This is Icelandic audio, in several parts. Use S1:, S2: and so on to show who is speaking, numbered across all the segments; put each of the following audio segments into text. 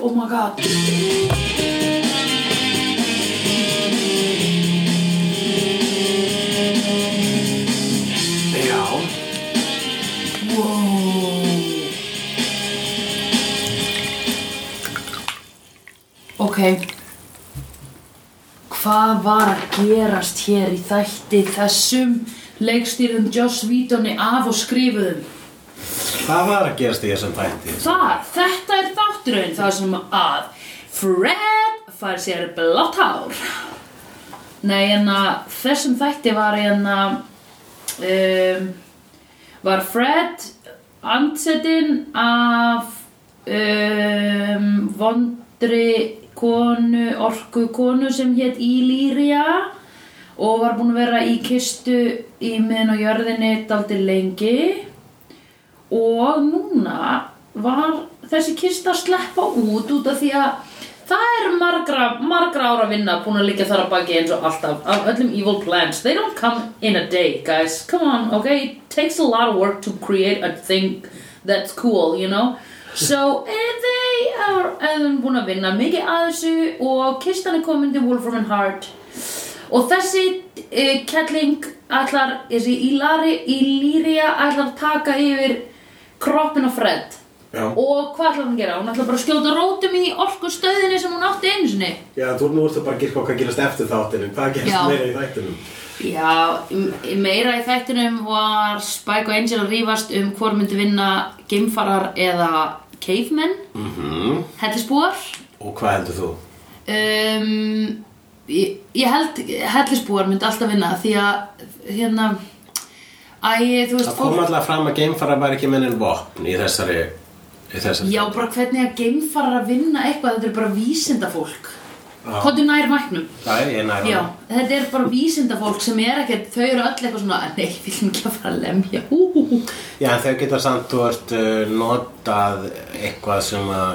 S1: Oh my god
S2: Já,
S1: Wow. Ok Hvað var að gerast hér í þætti þessum leikstýrðum Joss Vítoni af og skrifuðum?
S2: hvað var að gerast í þessum þætti?
S1: Það, þetta er þátturinn það sem að Fred fær sér blátt hár Nei, en að þessum þætti var en að um, var Fred ansettinn af um, vondri konu, orku konu sem hétt Illyria og var búin að vera í kistu í miðin og jörðinni daldi lengi og núna var þessi kista að sleppa út út af því að það er margra, margra ára vinna búin að liggja þar að baki eins og alltaf af öllum evil plans, they don't come in a day guys, come on, okay it takes a lot of work to create a thing that's cool, you know so eh, they are um, búin að vinna mikið að þessu og kistan er komin til Wolfram and Hart Og þessi uh, kelling ætlar, þessi Ílari, Ílýria ætlar að taka yfir kroppin á Fred.
S2: Já.
S1: Og hvað ætlar hún að gera? Hún ætlar bara að skjóta rótum í orkustöðinni sem hún átti einu sinni.
S2: Já, þú nú ertu bara að gíska á hvað gerast eftir þáttinum, hvað
S1: Já.
S2: gerast meira í þættinum?
S1: Já, m- meira í þættinum var Spike og Angel að rífast um hvort myndi vinna geimfarar eða cavemen, mm -hmm. hellisbúar.
S2: Og hvað heldur þú?
S1: Um, ég, ég held hellisbúar myndi alltaf vinna því að hérna, æ, þú veist,
S2: Það kom alltaf fram að geimfara var ekki mennin vopn í þessari, í þessari.
S1: Já, bara hvernig að geimfarar að vinna eitthvað, þetta er bara vísindafólk.
S2: Já.
S1: Kottu nær mæknum.
S2: Það er ég nær
S1: Já,
S2: honum.
S1: þetta er bara vísindafólk sem er ekkert, þau eru öll eitthvað svona, nei, við viljum ekki að fara að lemja, hú, hú, hú.
S2: Já, en þau geta samt, þú ert uh, notað eitthvað sem að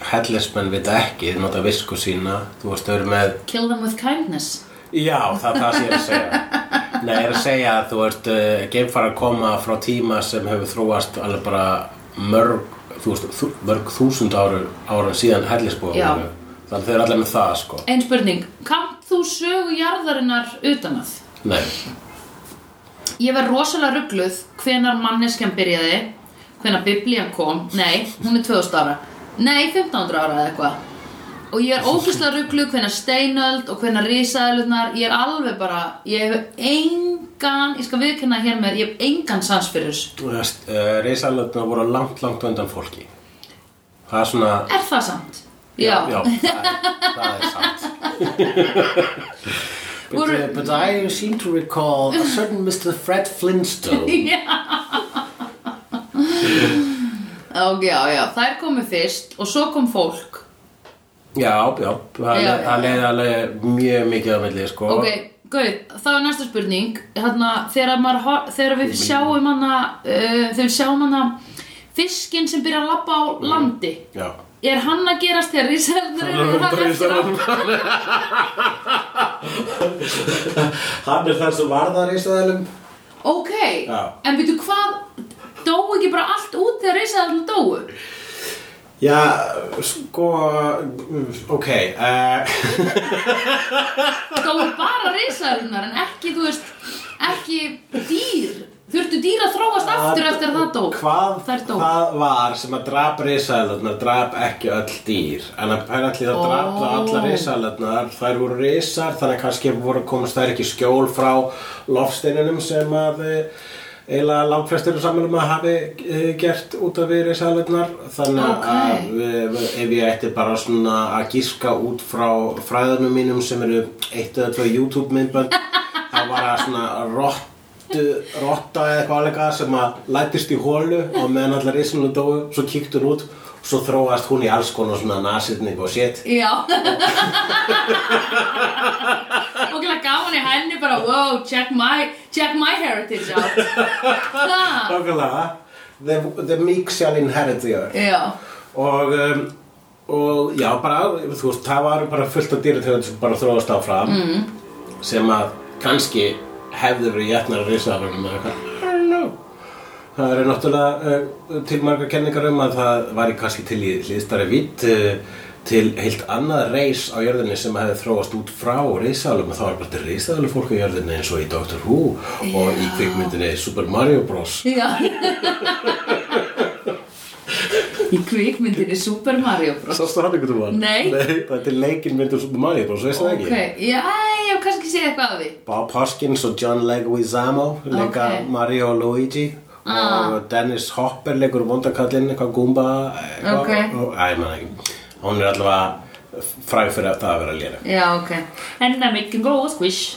S2: hellismenn vita ekki, þau nota visku sína, þú veist, þau eru með,
S1: Kill them with kindness.
S2: já, það er það sem ég er að segja. Nei, ég er að segja að þú ert uh, geimfara að koma frá tíma sem hefur þróast alveg bara mörg, þú veist, þú, mörg þúsund áru, árum síðan hellisbúið.
S1: Já.
S2: Þannig þau eru allir með það, sko.
S1: Einn spurning, kannt þú sögu jarðarinnar utan að?
S2: Nei,
S1: Ég var rosalega ruggluð hvenar manneskjan byrjaði, hvenar biblían kom, nei, hún er 2000 ára, nei, 1500 ára eða eitthvað. Og ég er ógeðslega ruggluð hvenar steinöld og hvenar risaðlunar, ég er alveg bara, ég hef engan, ég skal viðkynna hér með, ég hef engan sans fyrir þessu.
S2: þú veist, uh, reisalöfna voru langt, langt á undan fólki. Það er svona...
S1: Er það samt? Já.
S2: já það, er- það er satt But,
S1: Voru-
S2: uh, but I seem to recall a certain Mr. Fred Flintstone
S1: Og já, já, þær komu fyrst og svo kom fólk.
S2: Já, já, það
S1: Já,
S2: leið-
S1: já.
S2: það leiði alveg mjög mikið á milli sko
S1: Ok, gauð, þá er næsta spurning Þarna, þegar, maður, hor- þegar við sjáum hana uh, þegar við sjáum hana fiskinn sem byrjar að labba á landi
S2: Já,
S1: er hann að gerast þegar risaður
S2: Mm. Hann er að risaeðlan. hann er það sem varða reisaðalum
S1: Ok,
S2: Já.
S1: en byrju hvað dóu ekki bara allt út þegar risaður dóu?
S2: Já, sko, ok, uh,
S1: Dóu bara risaðurinnar en ekki, þú veist, ekki dýr Þurftu dýr að þróast aftur eftir að það dó
S2: Hvað
S1: Þær dó
S2: það var sem að drap risaðalarnar drap ekki öll dýr En að pæra allir það
S1: Ó.
S2: drap það allar risaðalarnar Þær voru risar þannig að kannski voru komast þær ekki í skjól frá loftsteininum sem að eh, eiginlega langflestir eru saman um að hafi eh, gert út af við risaðalarnar Þannig
S1: Ok.
S2: að eh, ef ég ætti bara svona að gíska út frá fræðunum mínum sem eru eitt eða tvö YouTube myndbönd Það var að svona rott rotta eða eitthvað alveg að sem að lætist í hólu og meðan allar risunum dóu svo kíkti hún út og svo þróast hún í alls konar svona nasirning og shit
S1: Já Og gæla gaman í henni bara Wow, check my, check my heritage out Það
S2: Nákvæmlega the, the meek shall inherit the earth
S1: Já
S2: og, um, og já bara þú veist það var bara fullt af dýra þegar sem bara þróast áfram mm. sem að kannski hefður í jætnar risaðarum eða eitthvað I don't know Það eru náttúrulega uh, til margar kenningar um að það væri kannski til í hlýðstari vitt uh, til heilt annað reis á jörðinni sem hefði þróast út frá reisalum og það var bara til reisalum fólk á jörðinni eins og í Doctor Who og í
S1: Já.
S2: kvikmyndinni Super Mario Bros.
S1: Já Í kvikmyndinni Super Mario Bros
S2: Sástu hann einhvern veginn?
S1: Nei.
S2: Nei, það er til leikinn um myndur Super Mario Bros, veistu það
S1: Ok,
S2: ekki?
S1: já, já, kannski sé eitthvað af því
S2: Bob Hoskins og John Leguizamo leika
S1: Ok. Ah.
S2: Mario og Luigi og Dennis Hopper leikur vondakallinn, eitthvað Goomba eitthvað,
S1: Ok.
S2: og, Æ, maður ekki Hún er allavega fræg fyrir það að vera léleg
S1: Já, ok And I'm making go a squish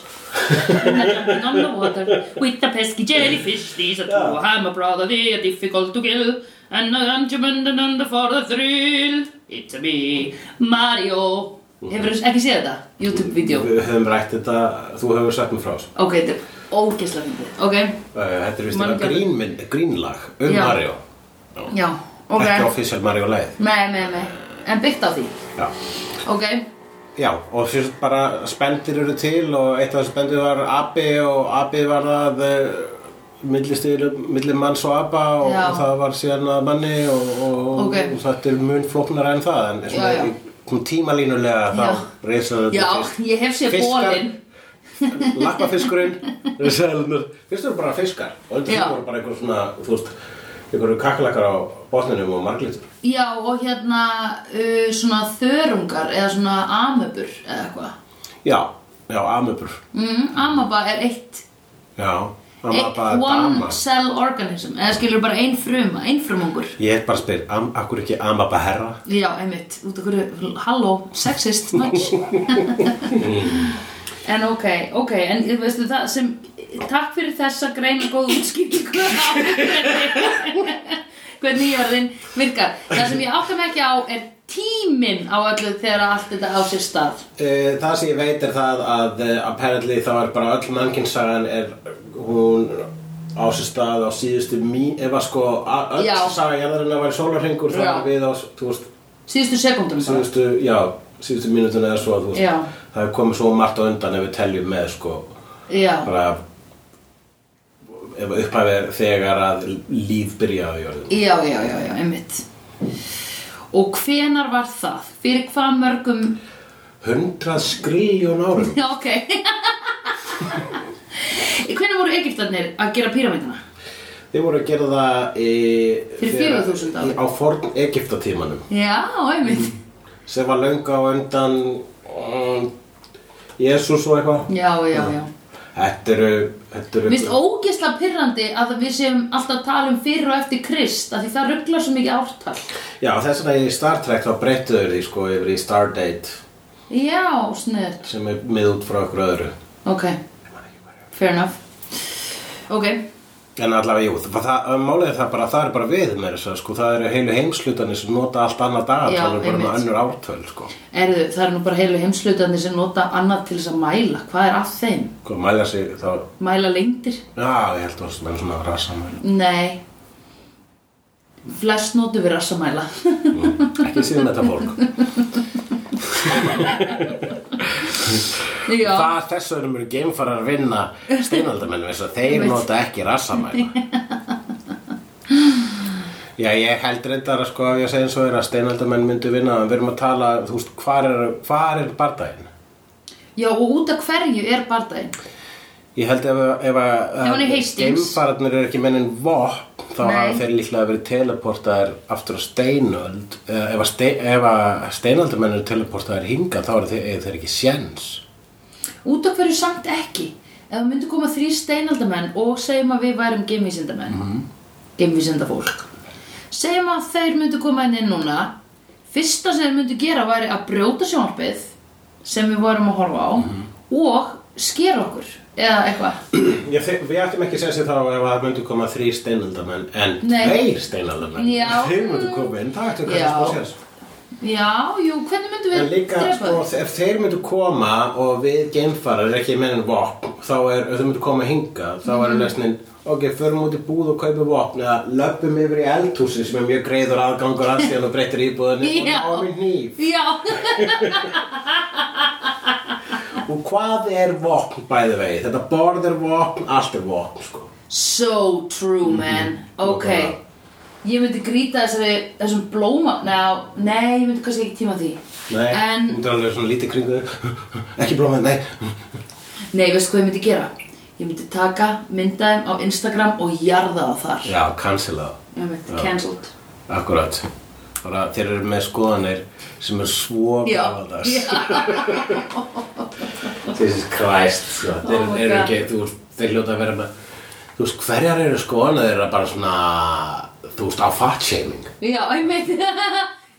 S1: And I'm jumping on the water With a pesky jellyfish These are two I'm a brother They are difficult to kill And I'm jumping on the for the thrill It's a me Mario Hefur ekki séð þetta? YouTube-vídeó
S2: Mhm. Við höfum rætt þetta, þú hefur sagt mér frá þessu
S1: Ok, þetta er ógeðslega fyndið Ok,
S2: Uh, Þetta er vist
S1: Man
S2: að
S1: gerði-
S2: grínmynd, grínlag um
S1: Já.
S2: Mario
S1: já, ok
S2: Ekki offísjál Mario leið
S1: Nei, nei, nei En byggt á því
S2: Já.
S1: Ok,
S2: Já, og sér bara spendir eru til og eitt af þessu spendir var abi og abi var það millistigur, millir manns og apa og,
S1: Já.
S2: og það var síðan að manni og, og,
S1: Ok.
S2: og þetta er mun flóknar en það en svona,
S1: Já, já.
S2: í- svona tímalínulega þá reysaður
S1: já, ég hef séð bólinn
S2: lappafiskurinn reysaðurnar, fyrst eru bara fiskar og þetta
S1: Já.
S2: voru bara einhver svona þú veist, einhverju kakalakar á botninum og marglitur
S1: Já, og hérna uh, svona þörungar eða svona amöbur eða eitthvað
S2: Já, já, amöbur
S1: mm, Amaba er eitt
S2: Já, það var
S1: eitt
S2: bara
S1: one
S2: dama
S1: cell organism eða skilur bara ein fruma, ein frumungur
S2: Ég er bara að spyr, am, akkur ekki Amaba herra?
S1: Já, einmitt, út af hverju, halló, sexist, much
S2: Mm.
S1: En ok, ok, en þú veistu það sem Takk fyrir þessa greina góð útskýringu á hvernig- Hvernig jörðin virkar Það sem ég átta mig ekki á er tíminn á öllu þegar allt þetta á sér stað
S2: Uh, það sem ég veit er það að uh, apparently þá er bara öll mannkinsagan er hún á sér stað á síðustu mín ef að sko a- öll
S1: Já.
S2: saga jarðarinn að væri sólarhengur þá
S1: Já.
S2: er við á þú veist,
S1: Síðustu sekundum bara
S2: síðustu, já, síðustu mínútuna eða svo þú
S1: Já.
S2: veist, það er komið svo margt á undan ef við teljum með sko
S1: Já,
S2: bara ef upphæfið er þegar að líf byrjaði á jörðum
S1: já, já, já, já, einmitt Og hvenar var það? Fyrir hvað mörgum
S2: 100 skriljón árum
S1: Já, ok Hvernig voru Egyptarnir að gera píramidina?
S2: Þeir voru að gera það í,
S1: Fyrir 4.000 árum.
S2: Á forn Egiptatímanum
S1: Já, einmitt
S2: sem var löngu á undan um, Jésús og eitthvað
S1: Já, já, já
S2: Þetta eru Þetta eru
S1: Mér finnst ógeðslega pyrrandi að við séum alltaf að tala um fyrir og eftir Krist af því það rugglar svo mikið ártal
S2: Já þess vegna í Star Trek þá breyttu þeir því sko yfir í Stardate
S1: Já, snöður
S2: sem er mið út frá okkur öðru
S1: Ok, fair enough Ok,
S2: En allavega, jú, það, það, málið er það bara, það er bara við með þess að, sko, það eru heilu heimslutanir sem nota allt annað dagat,
S1: Já,
S2: það eru bara með
S1: einmitt.
S2: önnur ártöl, sko.
S1: erðu, það eru nú bara heilu heimslutandi sem nota annað til þess að mæla Hvað er að þeim?
S2: Hvað Sko, mæla sig þá,
S1: Mæla lengdir?
S2: já, ég held að það er svona rassamæla.
S1: Nei Flest notum við rassamæla
S2: Mm. Ekki sko. síðan þetta fólk.
S1: Já
S2: Það er þess vegna mjög geimfarar að vinna steinaldamennum þess að þeir
S1: Einmitt.
S2: nota ekki rassamæla. Já, ég held reyndar að sko ef ég segi eins og er að steinaldamenn myndu vinna en við erum að tala, þú veist, hvar er, hvar er bardaginn?
S1: Já, og út af hverju er bardaginn?
S2: Ég held ef, ef,
S1: Ef
S2: að
S1: hann er Hastings.
S2: geimfararnir eru ekki mennin vopn þá
S1: Nei.
S2: hafa þeir líklega verið teleportaðir aftur á steinöld Eh, ef að, ste, ef að steinöldamenn eru teleportaðir hingað þá eru þeir, eiga þeir ekki sjens
S1: Út af hverju samt ekki? Ef það myndi koma þrýr steinaldamenn og segjum að við værum geimvísindamenn mm geimvísindafólk segjum að þeir myndu koma inn inn núna fyrsta sem þeir myndu gera væri að brjóta sjónarpið sem við vorum að horfa á og skera okkur eða eitthvað
S2: Já, þe- við ættum ekki að segja sér þá ef það myndu koma þrý steinaldamenn en
S1: Nei.
S2: tveir steinaldamenn
S1: Já.
S2: þeir myndu koma inn, það ættu kannski
S1: Já.
S2: smá séns
S1: Já, jú, hvernig myndu
S2: en
S1: við
S2: líka,
S1: drepa
S2: sko,
S1: þeir?
S2: ef þeir myndu koma og við geimfarar ekki mennin vopn þá er, ef þeir myndu koma hingað þá
S1: Mhm.
S2: er lesnin, ok, förum út í búð og kaupum vopn eða löpum yfir í eldhúsi sem er mjög greiður aðgangur að því að þú breytir íbúðinni og
S1: Já.
S2: þá er mér nýf
S1: Já,
S2: og hvað er vopn bæði vegi, þetta borð er vopn, allt er vopn sko.
S1: So true
S2: Mhm.
S1: man Ok
S2: nákvæmlega.
S1: Ég myndi grýta þessari, þessum blóma Ná, nei, ég myndi kannski ekki tíma því
S2: Nei, Mm.
S1: En,
S2: þú myndir alveg svona lítið kringu þig. Ekki blóma, nei
S1: nei, veistu hvað ég myndi gera? Ég myndi taka myndaðum á Instagram og jarða það þar
S2: Já, cancela
S1: Ég myndi,
S2: Já.
S1: cancelled
S2: Akkurat Bara þeir eru með skoðanir sem er svo
S1: Já,
S2: gamaldags
S1: já,
S2: Jesus Christ sko.
S1: Oh
S2: þeir
S1: my
S2: eru
S1: God.
S2: ekki, þú veist, þeir hljóta að vera með þú veist, hverjar eru skoðanir þeirra bara svona, þú veist, á fatshaming
S1: já, ég myndi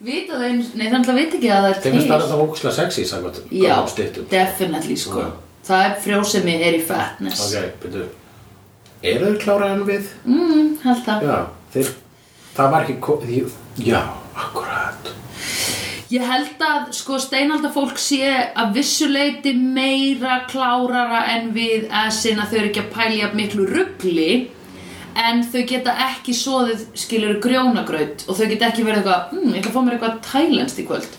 S1: Vita það, einu- nei, þannig að vita ekki að það er
S2: þeir finnst bara það ógustlega sexy samkvæmt
S1: Já,
S2: gömlum styttum
S1: definitely sko
S2: Já.
S1: Það er frjósemi er í fatness
S2: ok, byrju eru þeir klárað en við?
S1: mm, Held það
S2: já, þeir, það var ekki ko- því- já, akkurat
S1: Ég held að sko steinaldafólk sé að vissuleiti meira klárara en við að sinna þau eru ekki að pælja miklu ruggli en þau geta ekki soðið skilur grjónagraut og þau geta ekki verið eitthvað mm, ég ætla að fá mér eitthvað tælenskt í kvöld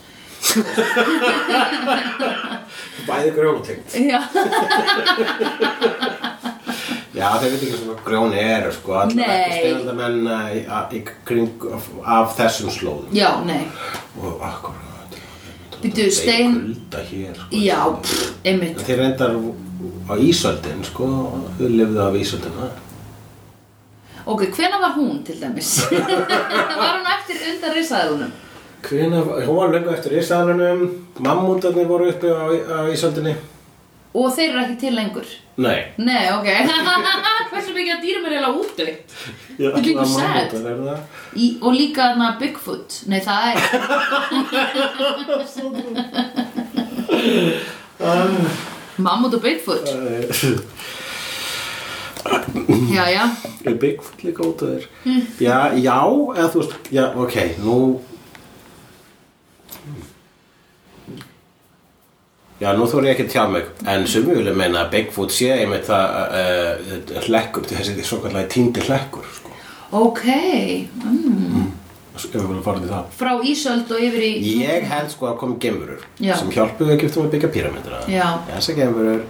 S2: bæði grjónutengt
S1: Já,
S2: já, þeir veit ekki hvað grjón er sko, allar
S1: Nei.
S2: ekki steinaldamenn eh, a- í kring af, af þessum slóðum
S1: já, nei
S2: og ah, akkurat
S1: Bíddu, stein-
S2: kulda hér sko,
S1: Já, pff, einmitt
S2: þeir reyndar á Ísöldin sko, þau lifðu af Ísöldina
S1: Ok, hvenær var hún til dæmis? var hún eftir undan risaðunum?
S2: Hvina, hún var löngu eftir Ísöldinum mammútarnir voru uppi á, á Ísöldinni
S1: Og þeir eru ekki til lengur
S2: nei
S1: Nei, ok Hversu mikið að dýrum er eiginlega útdöitt
S2: Já,
S1: Þetta er líka
S2: það var
S1: sad.
S2: mammútar, er það?
S1: Í- Og líka þarna Bigfoot Nei, það er Mammut og Bigfoot Já, já
S2: Er Bigfoot líka út af þér? Já, já, eða þú veist, já, ok, nú Já, nú þú er ég ekki að tjá mig en sumi vilja meina að Bigfoot sé einmitt það uh, hlekkur, þessi því svo kallega týndi hlekkur sko.
S1: Ok mm.
S2: ef við viljum fara til það
S1: Frá Ísöld og yfir í
S2: Ég held sko að koma gemurur
S1: Já.
S2: sem hjálpuðu Egyptum að byggja píramindra
S1: Já.
S2: Þessar gemurur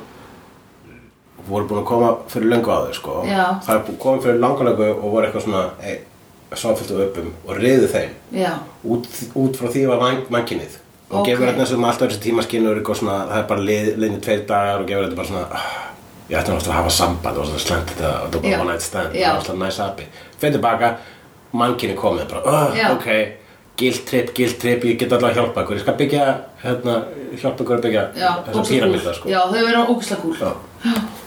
S2: voru búin að koma fyrir löngu á þau sko
S1: Já.
S2: Það er komið fyrir langa löngu og voru eitthvað svona hey, sáfælt og uppum og reyðu þeim
S1: Já,
S2: út, út frá því var mann, mannkinnið
S1: Ok.
S2: og okay. gefur þetta sem alltaf þessi tímaskinn og eitthvað svona, það er bara lið, liðni tveir dagar og gefur þetta bara svona ah, ég ætti náttúrulega að hafa samband og svona slæmt þetta og þetta var
S1: Já.
S2: bara one night stand
S1: Já.
S2: og alltaf næs appi fyrir tilbaka, mannkinni komið bara,
S1: Já.
S2: ah, ok guilt trip, guilt trip, ég get alltaf að hjálpa ykkur ég skal byggja, hérna, hjálpa ykkur að byggja
S1: já,
S2: þessa
S1: ógeðslega
S2: píramida
S1: kúl.
S2: sko
S1: Já, þau verða ógislega kúl
S2: Já.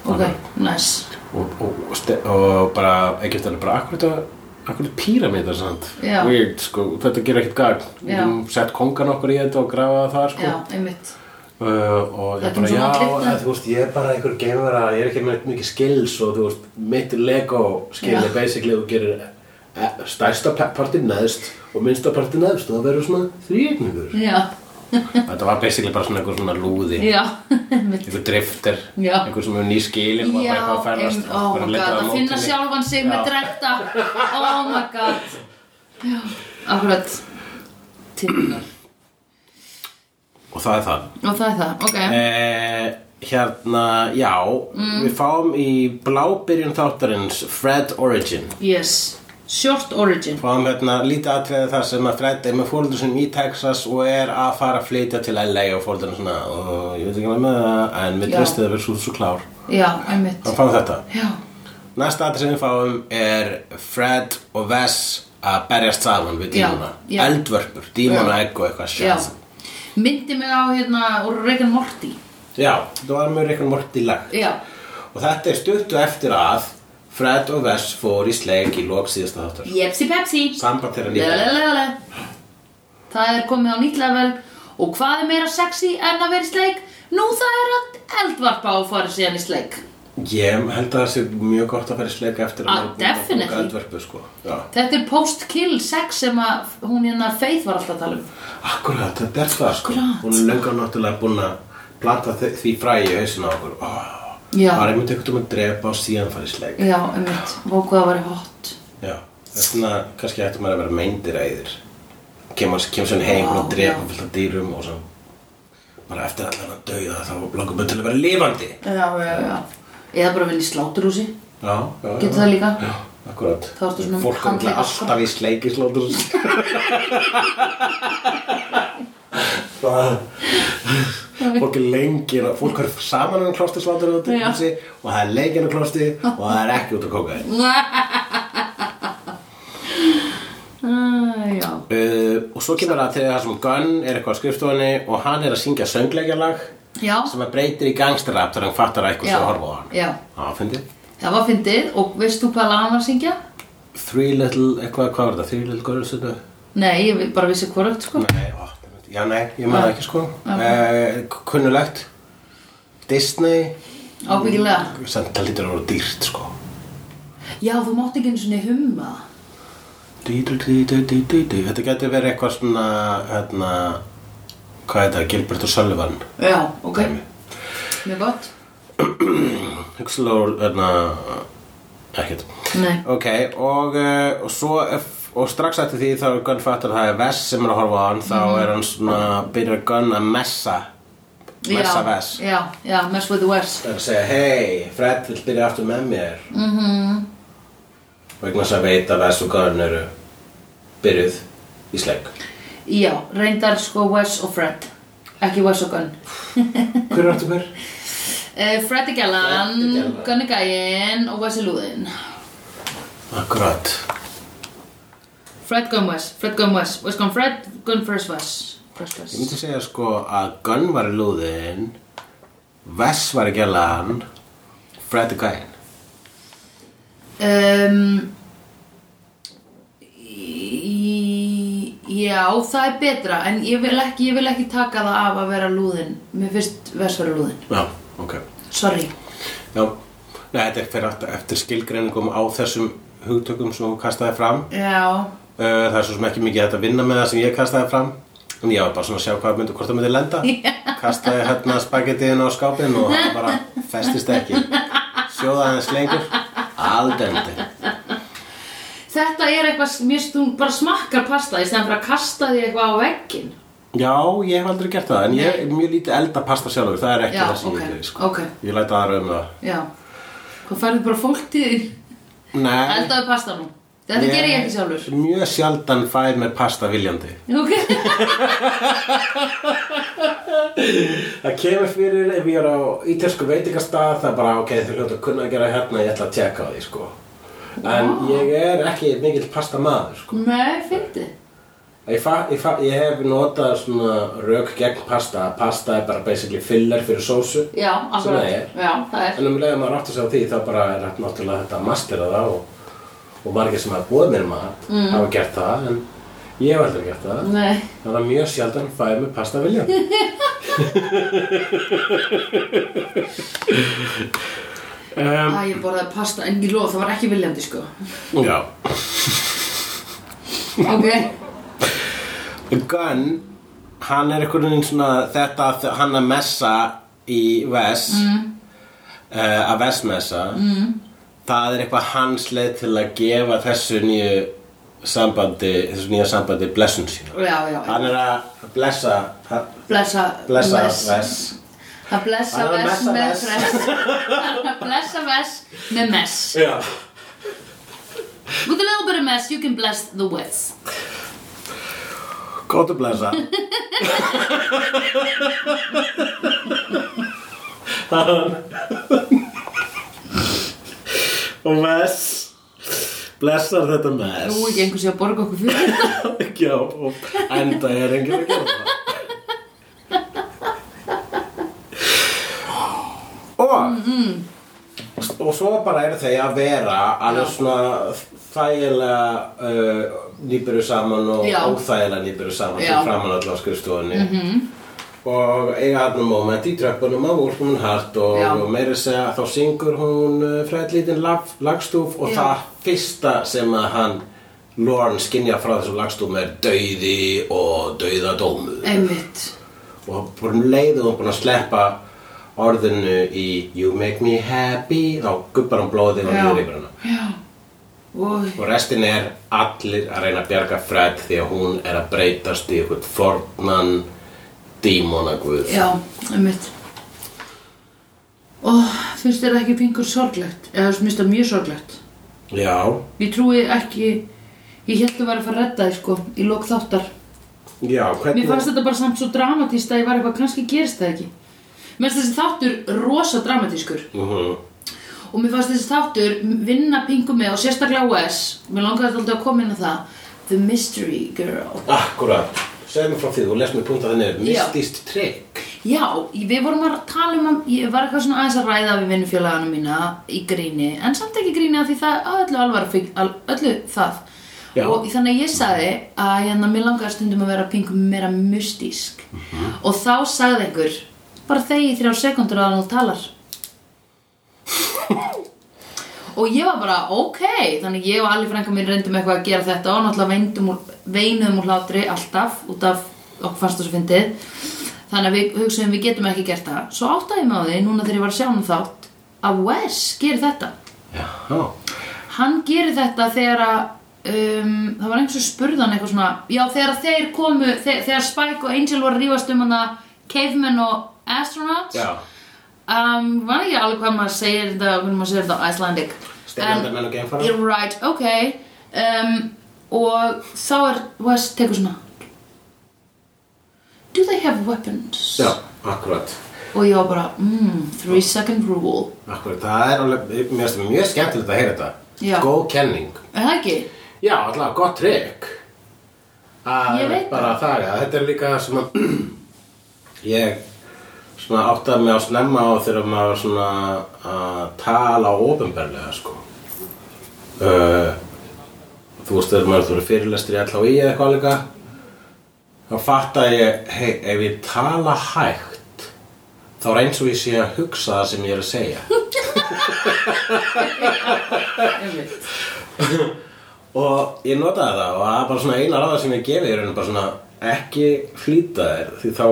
S1: Ok, nice
S2: og, og, og, ste- og bara Egyptan er bara akkur þetta akkur þetta píramida sant
S1: Já.
S2: weird sko, þetta gerir ekkert gagn
S1: Já.
S2: um, sett kongan okkur í þetta og grafa það þar sko
S1: Já, einmitt
S2: uh, og
S1: Það
S2: ég bara
S1: kemur svo
S2: já,
S1: vandlegt það.
S2: eða, þú veist ég er bara einhver geimvera, ég er ekki með mikið skills og þú veist, mitt lego skilli
S1: Já.
S2: basically þú gerir eh, stærsta pa- partinn neðst og minnsta partinn neðst og það verður svona þrýegningur
S1: Já,
S2: þetta var basically bara svona einhver svona lúði
S1: já, einmitt
S2: einhver drifter,
S1: Já.
S2: einhver sem er ný skilin og bara
S1: Já,
S2: eitthvað að ferðast
S1: em, oh
S2: bara
S1: my
S2: leitað
S1: god,
S2: að
S1: að finna
S2: mótinni.
S1: sjálfan sig með
S2: Já.
S1: drekta Oh my god Já, akkurat Tinnar
S2: og það er það
S1: Og það er það, ok
S2: eh, hérna, já
S1: Mm.
S2: við fáum í blábyrjun þáttarins Fred Origin
S1: Yes, short origin
S2: fáum hérna lítið atriði þar sem að Fred er með fólundur sem í Texas og er að fara að flytja til LA og fólundur svona og ég veit ekki hvað með það en mér
S1: Já.
S2: tristið að vera svo, svo klár
S1: Já, einmitt
S2: hann fáum þetta
S1: Já,
S2: næsta atrið sem við fáum er Fred og Vess að berjast saman við
S1: Já,
S2: dímona
S1: já.
S2: eldvörpur, dímona egg og eitthvað
S1: já
S2: sjálf
S1: Myndi mig á hérna úr Regan Morty
S2: já, það var mjög eitthvað mortilag
S1: Já,
S2: Og þetta er stuttu eftir að Fred og Vess fór í sleik í lok síðasta þáttar.
S1: Jepsi Pepsi
S2: Samband þeirra nýtt.
S1: Lelelelele Það er komið á nýtt level Og hvað er meira sexy en að vera í sleik? Nú það er að eldvarpa og fara síðan í sleik
S2: Ég held að það sé mjög gott að fara í sleik eftir
S1: Ah,
S2: að maður er búin að bóka
S1: definitely.
S2: öndverfu, sko. Já.
S1: Þetta er post-kill sex sem að hún hérna Faith var alltaf að tala um.
S2: Akkurat, þetta er það, sko.
S1: Akkurat.
S2: Hún er löngan náttúrulega búin að planta þe- því fræði í hausinu á okkur. Oh.
S1: Já.
S2: Það er einmitt einhvern veginn að drepa og síðan fara í sleik.
S1: Já, einmitt, vókuð að vera hot.
S2: Já. Þess vegna kannski ættum maður að vera meindir æðir. Kemur kem svona heim
S1: Vá,
S2: og
S1: já.
S2: drepa fullt af dýrum og svo. Bara eftir allan að dauða þá langar maður til að vera lifandi.
S1: Já, já, já. Eða bara vel í sláturhúsi.
S2: já, já, já.
S1: Getur það líka?
S2: Já, akkurat
S1: Þá ertu svona
S2: Fólk er
S1: handleggur,
S2: náttúrulega
S1: sko.
S2: alltaf í sleikislótur Það- Fólk er lengi Fólk er saman um klóstislátur og
S1: Já.
S2: þessi og það er leikinn um klósti og það er ekki út að kóka þér
S1: Uh, já.
S2: uh, Og svo kemur það til það sem Gunn er eitthvað á skrifstofunni og hann er að syngja söngleikjarlag
S1: Já.
S2: sem að breytir í gangsterrap þegar hann fattar að eitthvað
S1: Já.
S2: sem horfa á hann
S1: Já.
S2: Það fyndið
S1: Það var fyndið og veist þú hvað lag hann var að syngja?
S2: Three little, eitthvað, hvað var þetta? Three little girls þetta?
S1: Nei, ég vi- bara vissi hvorögt sko. Ah.
S2: Nei, ó, já nei, ég maður ekki sko
S1: Já.
S2: eh, Kunnulegt Disney
S1: Ábyggilega.
S2: Samt það lítur að vera dýrt sko
S1: Já, þú mátt ekki einu svona humma.
S2: Dí, dí, dí, dí, dí, dí, dí. Þetta getur verið eitthvað svona hérna, Hvað er þetta? Gilbert og Sullivan
S1: Já, ok. Mjög gott.
S2: Huxlor, hérna Ekkert
S1: Nei.
S2: Ok, og, eh, og svo ef- og strax eftir því þá er Gunn fattar að það er Vess sem er að horfa á hann þá
S1: Mhm.
S2: er hann svona, byrjar Gunn að messa messa
S1: Já,
S2: Vess
S1: Já, já, mess with the west.
S2: Það er að segja, hei, Fred vil byrja aftur með mér mm -hmm. vegna þess að veit að Vess og Gunn eru byrjuð í sleik
S1: Já, reyndar sko Wes og Fred. Ekki Wes og Gunn.
S2: Hver er aftur hver?
S1: Uh, Fred er gælan,
S2: Fred er gælan.
S1: Gunn er gæinn og Wes er lúðinn.
S2: Akkurat
S1: Fred Gunn Wes, Fred Gunn Wes, Wes Gunn Fred, Gunn Fresh Wes. Fresh
S2: Ég
S1: Wes.
S2: myndi segja sko að Gunn var í lúðin Vess var í gælan Fred er gæinn
S1: Um, í, já, það er betra en ég vil, ekki, ég vil ekki taka það af að vera lúðinn. Mér finnst Wes vera lúðinn.
S2: Já, ok
S1: Sorry.
S2: Já, Nei, þetta er fyrir aftur eftir skilgreiningum á þessum hugtökum sem hún kastaði fram
S1: Já,
S2: Uh, Það er svo sem ekki mikið hægt að vinna með það sem ég kastaði fram En ég var bara svona að sjá hvað myndi, hvort það myndi lenda Kastaði hérna spagettiðin á skápin og það bara festist ekki Sjóðaði hans lengur Aldendi
S1: Þetta er eitthvað, mér finnst þú bara smakkar pasta í stæðan fyrir að kasta því eitthvað á veggin.
S2: Já, ég hef aldrei gert það En ég er mjög lítið elda pasta sjálfur Það er ekki
S1: Já,
S2: það sem
S1: ok,
S2: ég gerir sko.
S1: ok.
S2: Ég læta aðra um það
S1: Já. Hvað færðu bara fólk til þín?
S2: Nei
S1: Eldaðu pasta nú. Þetta
S2: Ég-
S1: gerir ég ekki sjálfur.
S2: Mjög sjaldan fær mér pasta viljandi
S1: Ok.
S2: Það kemur fyrir ef ég er á ítelsku veitingastað það er bara ok, þau hljóta að kunna að gera hérna ég ætla að tjekka á því sko en ég er ekki mikill pasta maður sko.
S1: Nei, fyndi.
S2: ég, fa, ég, fa, ég hef notað svona rök gegn pasta að pasta er bara basically filler fyrir sósu
S1: Já, akkurat.
S2: það er.
S1: Já, það er.
S2: en um leiðum maður átti sig á því þá bara er þetta náttúrulega þetta að mastera það og, og margir sem hafa búið mér mat hafa gert það en ég hef aldrei gert það
S1: Nei.
S2: þannig að mjög sjaldan fæði mig pasta vilja
S1: Æ, ég borðaði pasta en ég lofa, það var ekki viljandi sko.
S2: Já
S1: Ok.
S2: Gunn hann er einhvern veginn svona þetta að hann að messa í Vess mm. að Vess messa mm. það er eitthvað hans leið til að gefa þessu nýju sambandi, þessu nýja sambandi blessun sína
S1: Já, já. já.
S2: hann er að blessa hann-
S1: Blessa.
S2: blessa
S1: Wes.
S2: Vess
S1: Að blessa
S2: Að
S1: vess
S2: messa
S1: með
S2: Wes.
S1: fress. Að blessa vess með mess.
S2: Já
S1: With a little bit of mess, you can bless the west.
S2: Gótt að blessa Tá Og Vess Blessar þetta
S1: Þú
S2: Vess
S1: ekki einhversi að borga okkur fyrir þetta.
S2: Já, og enda er enginn að gera það Og Og svo bara eru þau að vera alveg svona þægilega uh, nýbyrju saman og
S1: Já.
S2: óþægilega nýbyrju saman
S1: Já. Mhm.
S2: sem framan allá skrifstofunni -hmm. og eiga hann moment í tröppunum á úlpunum hart og,
S1: Já.
S2: og meira að segja þá syngur hún uh, fræðlítinn lag, lagstúf og
S1: Já.
S2: það fyrsta sem að hann Lorne skinja frá þessum lagstúfum er dauði og dauðadómu
S1: Einmitt.
S2: og bara um leið og hún búin að sleppa orðinu í You make me happy þá gubbar hann blóðið og
S1: Já.
S2: líður yfir hana
S1: Já. Új.
S2: og restin er allir að reyna að bjarga Fred því að hún er að breytast í eitthvað fornan dímonaguð
S1: Já, einmitt. og finnst þér það ekki pingur sorglegt eða þú finnst það mjög sorglegt
S2: Já,
S1: ég trúi ekki ég held að vera að fara að redda þér sko í lok þáttar
S2: já, hvernig...
S1: Mér fannst þetta bara samt svo dramatíst að ég var eitthvað, kannski gerist það ekki. Mér fannst þessi þáttur rosa dramatískur
S2: Mhm.
S1: og mér fannst þessi þáttur vinna pingu með og sérstaklega á S, mér langaði alltaf að koma inn á það, The Mystery Girl.
S2: Akkurat, segðu mér frá því, þú lest mér punkt að henni er
S1: Já.
S2: mistist trikk.
S1: Já, við vorum að tala um, að- ég var eitthvað svona aðeins að ræða við vinnufélagana mína í gríni, en samt ekki gríni að því það að öllu alvar, öllu það.
S2: Já.
S1: Og þannig að ég sagði að hérna, mér langaði stundum að vera pingu meira mystísk og þá sagði einhver, bara þegi í þrjá sekundur að hann talar. og ég var bara, ok, þannig ég og allir frænka mín reyndum eitthvað að gera þetta og náttúrulega veindum úr, veinuðum úr hlátri alltaf út af okkur fannst þessu fyndið. Þannig að við hugsaðum við getum ekki gert það. Svo áttaði ég maður því, núna þegar ég var að sjá um þátt, að Wes gerir þetta
S2: Já,
S1: hann gerir þetta þegar að um, það var einhversu spurðan eitthvað svona já þegar þeir komu, þegar, þegar Spike og Angel voru að rífast um hann að cavemen og astronauts
S2: já,
S1: um, var ekki alveg hvað maður segir þetta hvernig maður segir þetta á Icelandic
S2: Steinaldarmenn og geimfarar.
S1: you're right, ok um, og þá er Wes tekur svona do they have weapons
S2: já, akkurat.
S1: og ég var bara mm, three second rule
S2: Akkurat, það er alveg, mér finnst það mjög skemmtilegt að heyra þetta.
S1: Já.
S2: Góð kenning.
S1: er það ekki?
S2: Já, allavega, gott trikk. Það
S1: Ég
S2: er
S1: veit
S2: bara það, já, þetta er líka sem að ég svona áttaði mig á snemma á þegar maður var svona að tala ofinberlega, sko. Uh, þú veist, þegar maður þú eru fyrirlestri allavega í eða eitthvað líka. þá fatta ég, hei, ef ég tala hægt þá er eins og ég sé að hugsa það sem ég er að segja
S1: Einmitt.
S2: og ég notaði það og það er bara svona eina ráða sem ég gefi er bara svona ekki flýta þér því þá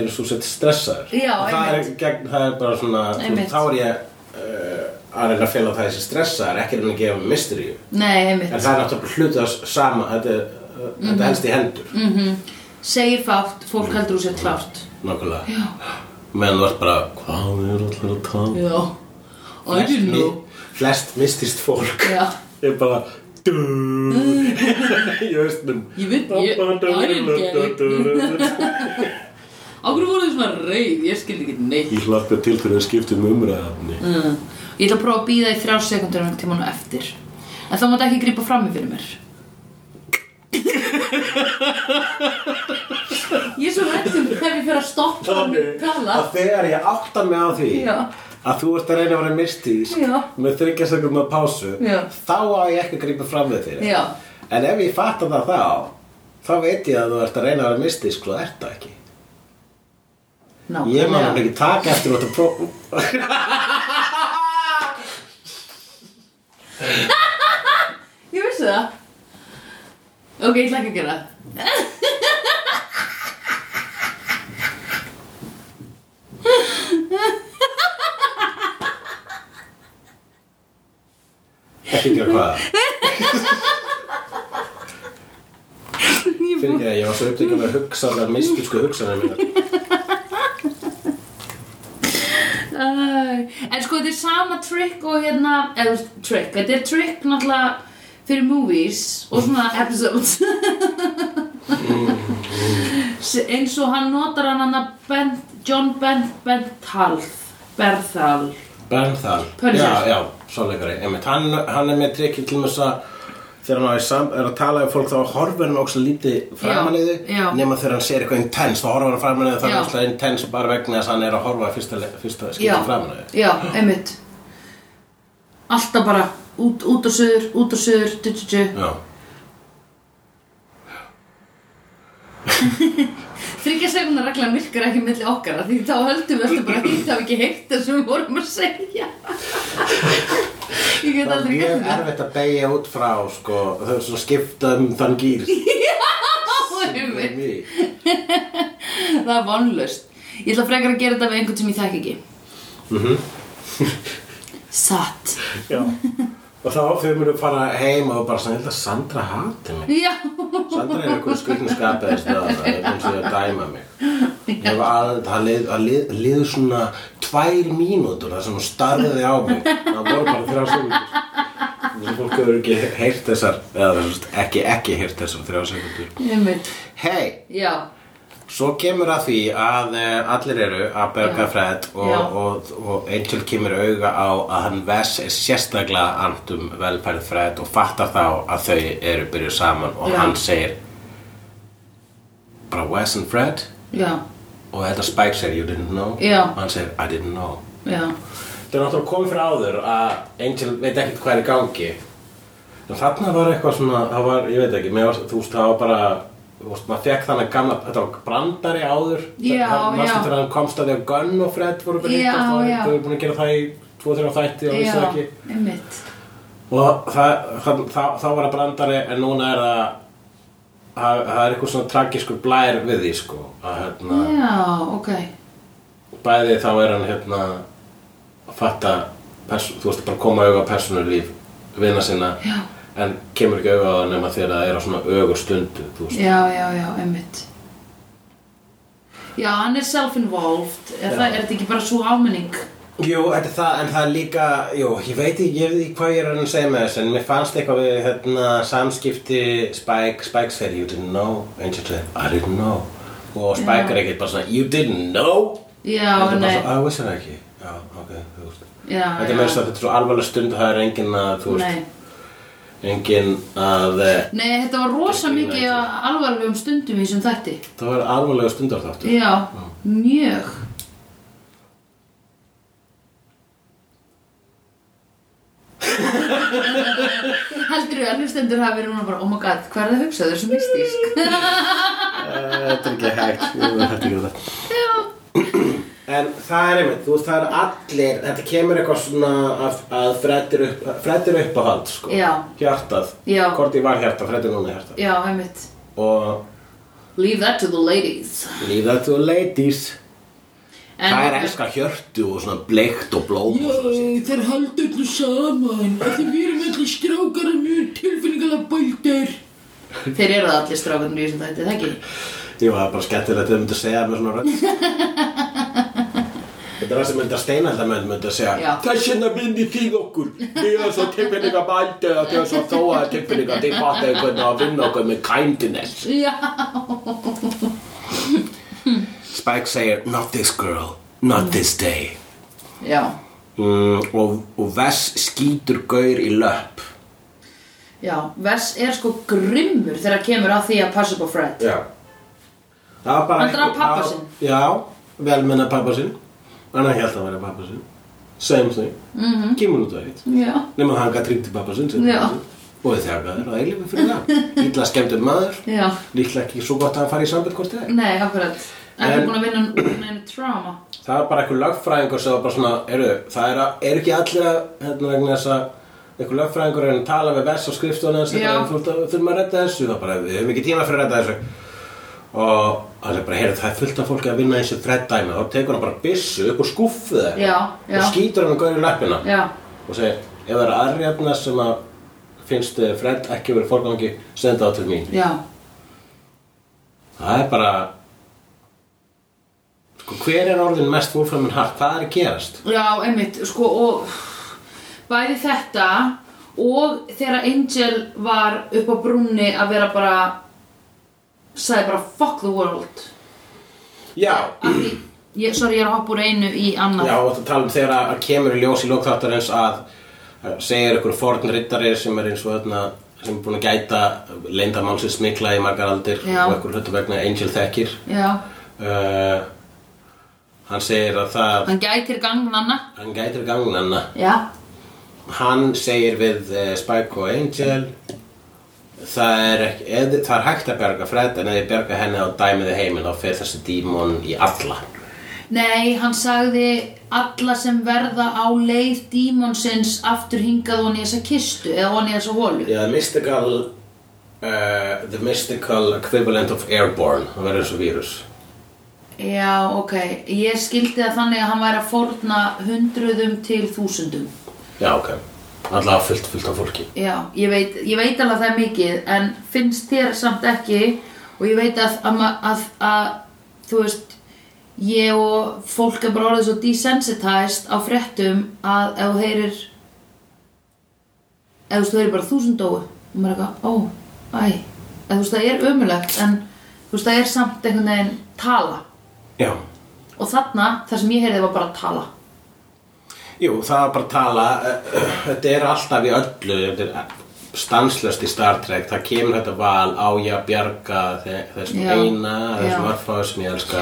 S2: er svo sett stressaður
S1: Já,
S2: Og það, er,
S1: einmitt.
S2: gegn, það er bara svona þú,
S1: Einmitt.
S2: þá er ég uh, að reyna að fela það þessi stressaður ekki reyna að gefa mystery en
S1: nei, einmitt
S2: það er náttúrulega hluta sama þetta, er, uh,
S1: Mhm.
S2: þetta helst í hendur mm.
S1: segir fátt, fólk heldur úr sér klárt
S2: nokkulega meðan þú ert bara hvað er allir að tala um?"
S1: já I didn't know
S2: flest mistist fólk
S1: Já. Mm.
S2: er bara dú, í östnum
S1: Ég veit, ég- I didn't get it. Ákveður voru þið svona reyð, ég skildi ekki neitt
S2: Ég hlakka til þegar það skiptum umræðafni
S1: mm. Ég ætla að prófa að býða í þrjár sekundur en tíma nú eftir En þá máttu ekki grípa fram í fyrir mér Ég er svo rættum þegar ég fer að stoppa mig að tala
S2: að þegar ég átta mig á því
S1: Já.
S2: að þú ert að reyna að vera mystísk
S1: Já.
S2: með þryggjastökum að pásu
S1: Já.
S2: þá á ég ekki að grípa fram við þér
S1: Já.
S2: en ef ég fatta það þá þá veit ég að þú ert að reyna að vera mystísk og það ert það ekki
S1: Nákvæmlega.
S2: Ég maður ekki taka eftir þetta próf
S1: Ég vissi það Ok, ég ætla ekki að gera það
S2: Ekki gera hvað
S1: Ég
S2: Fyrir ekki að ég var svo upptökjum með hugsanar, mystísku hugsanar mínar
S1: Æ, En sko þetta er sama trick og hérna, eða þú veist, trick, þetta er trick náttúrulega fyrir movies og svona episodes Se- eins og hann notar hann hann að Bent, John Bent, Benthal Berthal
S2: Bernthal
S1: Pönser.
S2: Já, já, sáleikari Einmitt, hann, hann er með trikki til þess að Þegar hann á í sam, er að tala við fólk þá horfir hann ógst lítið framan í þau
S1: Já, já.
S2: nema þegar hann sér eitthvað intens þá horfir hann framan í þau það
S1: Já.
S2: er ógst intens bara vegna þess að hann er að horfa í fyrsta, le- fyrsta
S1: Já,
S2: skipti framan í þau
S1: já, einmitt Alltaf bara út, út og söður, út og söður, du, du, du.
S2: Já,
S1: Þryggja sekundar reglan virkar ekki milli okkar af því þá höldum við alltaf bara að hitt hafi ekki heitt það sem við vorum að segja Ég get
S2: það er
S1: aldrei
S2: mjög
S1: gert það
S2: erfitt að beigja út frá sko, þau er svona skipta um þann gýr
S1: Það er mitt. Það er vonlust Ég ætla frekar að gera þetta við einhvern sem ég þekk ekki
S2: Mhm.
S1: Satt
S2: Já Og þá þau munu fara heim og bara svona, ég held að Sandra hati mig
S1: Já,
S2: Sandra er einhver skrýtniskapið þess að það er eins og að dæma mig Ég var að, það lið, að lið, lið svona tvo tvær mínútur þar sem hún starði á mig það voru bara þrjá sekundur þessi fólk hefur ekki heyrt þessar eða þú veist, ekki ekki heyrt þessar þrjá sekundur
S1: Einmitt.
S2: hei,
S1: Já,
S2: svo kemur að því að eh, allir eru að berga
S1: Já.
S2: Fred
S1: Já.
S2: og, og, og Angel kemur auga á að hann Vess er sérstaklega andum velferð Fred og fattar þá að þau eru byrjuð saman og
S1: Já.
S2: hann segir bara Wes and Fred
S1: já,
S2: og þetta Spike segir you didn't know
S1: Já.
S2: og hann segir I didn't know
S1: já
S2: Þetta er náttúrulega komið fyrir áður að Angel veit ekkert hvað er í gangi en þarna var eitthvað svona það var, ég veit ekki, mér var, þú veist það var bara þú veist, maður fekk þannig gamla þetta var brandari áður
S1: Já,
S2: það,
S1: já.
S2: þegar hann komst að því að Gunn og Fred voru
S1: Já,
S2: bara hittast og
S1: já.
S2: þau voru búin að gera það í 2-3 þætti og vissu
S1: Já,
S2: ekki
S1: einmitt
S2: og það, það, það, það var að brandari en núna er það það, það er eitthvað svona tragiskur blær við því sko að hérna
S1: Mm. Já, ok
S2: bæði þá er hann hérna að fatta perso- þú veist bara koma auga persónulíf vina sinna
S1: Já.
S2: en kemur ekki auga á það nema þegar það er á svona augur stundu þú veist
S1: Já, já, já, einmitt Já, hann er self-involved er,
S2: Já.
S1: það, er þetta ekki bara svo ámenning?
S2: Jú, þetta er það, en það er líka, jú, ég veit ekki, ég veit ekki hvað ég er að reyna að segja með þess, en mér fannst eitthvað við, hérna, samskipti Spike, Spike segir, you didn't know, Angel segir, I didn't know, og
S1: Já.
S2: Spike er ekkert bara svona, you didn't know,
S1: Já,
S2: Þetta er bara
S1: nei
S2: svona, að vissi það ekki, já, ok, þú veist,
S1: Já,
S2: þetta
S1: já.
S2: er með þess að þetta er svo alvarleg stund og það er enginn að, þú veist,
S1: Nei.
S2: enginn að eh,
S1: nei, þetta var rosa
S2: Þetta er
S1: mikið
S2: grínlæti.
S1: af alvarlegum stundum í þessum þætti
S2: það var alvarlega stundar þáttu
S1: Já, mjög Heldur við að hlustendur hafi verið núna bara Oh my god, hvað er það að hugsa þau er svo mystísk
S2: þetta er ekki hægt þetta er ekki það en það er einmitt, þú veist það er allir þetta kemur eitthvað svona að, að freddir upp, freddir upp á hald sko.
S1: Já.
S2: hjartað,
S1: Já.
S2: hvort ég var hjartað freddir núna er hjartað
S1: Já, einmitt
S2: og
S1: Leave that to the ladies
S2: leave that to the ladies
S1: En-
S2: það er elska hjörtu og svona bleikt og blóm og svona
S3: Já, þeir halda öllu saman af því við erum allir strákar og mjög tilfinningaða bæltar
S1: Þeir eru það allir strákarnir í þessum þætti, það ekki?
S2: Ég var bara skemmtilegt að þau myndu að segja með svona rödd Þetta er það sem myndu að steina þetta með myndu að
S1: Já.
S2: segja Þess vegna myndi þið okkur Þið erum svo tilfinninga mældi og þið erum svo þóaða tilfinninga Þið fattu einhvern að vinna okkur með kindness
S1: Já
S2: Spike segir Not this girl, not this day
S1: Já,
S2: mm, og, og Vess skýtur gaur í löpp
S1: já, Vess er sko grimmur þegar kemur að því að passa upp á Fred
S2: Já Það var bara
S1: Hann drap
S2: einhver-
S1: pabba
S2: það-
S1: sinn.
S2: Já, vel menna pappa sinn En hann held að vera pappa sinn Same thing mm
S1: Mhm.
S2: -hmm. Kemur út af eitt
S1: Já,
S2: Nefnum að hann gætt ringt til pappa sinn sem
S1: Já.
S2: pappa sinn. Og þegar það er að eilífi fyrir það Ítla skemmtur maður
S1: já
S2: Líklega ekki svo gott að hann fari í sambund hvort eða
S1: Nei, akkurat En hann er
S2: En-
S1: búin að vinna úr neinu trauma
S2: Það var bara einhver lögfræðingur sem var bara svona Eru, það er, að, er ekki allir að Hérna vegna þess að einhver lögfræðingur er að tala við vers á skrifstofunni hans
S1: Já.
S2: þetta er fullt af- þurfum að redda þessu það bara, við höfum ekki tíma fyrir að redda þessu og hann er bara, heyrðu, það er fullt af fólki að vinna eins og þreddæmi og tekur hann bara byssu upp og skúffu það
S1: Já, já.
S2: og skýtur hann og gaur í löppina
S1: Já,
S2: og segir, ef það eru aðrjafna sem að finnst eh, Fred ekki verið fórgangi senda það til mín
S1: já
S2: það er bara sko, hver er orðin mest úrframin hart, hvað er að gerast
S1: Já, einmitt, sko og bæði þetta og þegar Angel var upp á brúnni að vera bara sagði bara fuck the world
S2: já,
S1: Af því, ég, sorry, ég er að hoppa úr einu í annað
S2: Já, og það tala um þegar að að kemur í ljós í lókþáttarins að að segir ykkur forn rittari sem er eins og þarna sem er búin að gæta leyndamálsins mikla í margar aldir
S1: Já.
S2: og ykkur hlutu vegna Angel þekkir
S1: Já,
S2: uh, hann segir að það
S1: hann gætir gangnanna
S2: hann gætir gangnanna
S1: Já,
S2: hann segir við uh, Spike og Angel það er, ekki, eð, það er hægt að berga Fred en ef ég berga henni á dæmiði heiminn þá fer þessi dímon í alla
S1: nei, hann sagði alla sem verða á leið dímonsins aftur hingað hon í þessa kistu eða hon í þessa holu
S2: Já, the mystical uh, the mystical equivalent of airborne það verður eins og vírus
S1: Já, ok. Ég skildi það þannig að hann væri að fórna hundruðum til þúsundum.
S2: Já, ok Alla fullt, fullt af fólki
S1: Já, ég veit, ég veit alveg að það er mikið en finnst þér samt ekki og ég veit að, að, ma- að, að þú veist, ég og fólk er bara orðið svo desensitized á fréttum að ef þú heyrir ef þú veist, þú heyrir bara þúsund dói og maður er eitthvað, ó, æ ef þú veist það er ömulegt en þú veist það er samt einhvern veginn tala
S2: Já,
S1: og þarna það sem ég heyrði var bara tala
S2: jú, það er bara að tala eh, Þetta er alltaf í öllu Þetta er stanslöst í Star Trek Það kemur þetta val á ég að bjarga þe- þessum
S1: Já.
S2: eina Þessum
S1: Já.
S2: örfáðu sem ég elska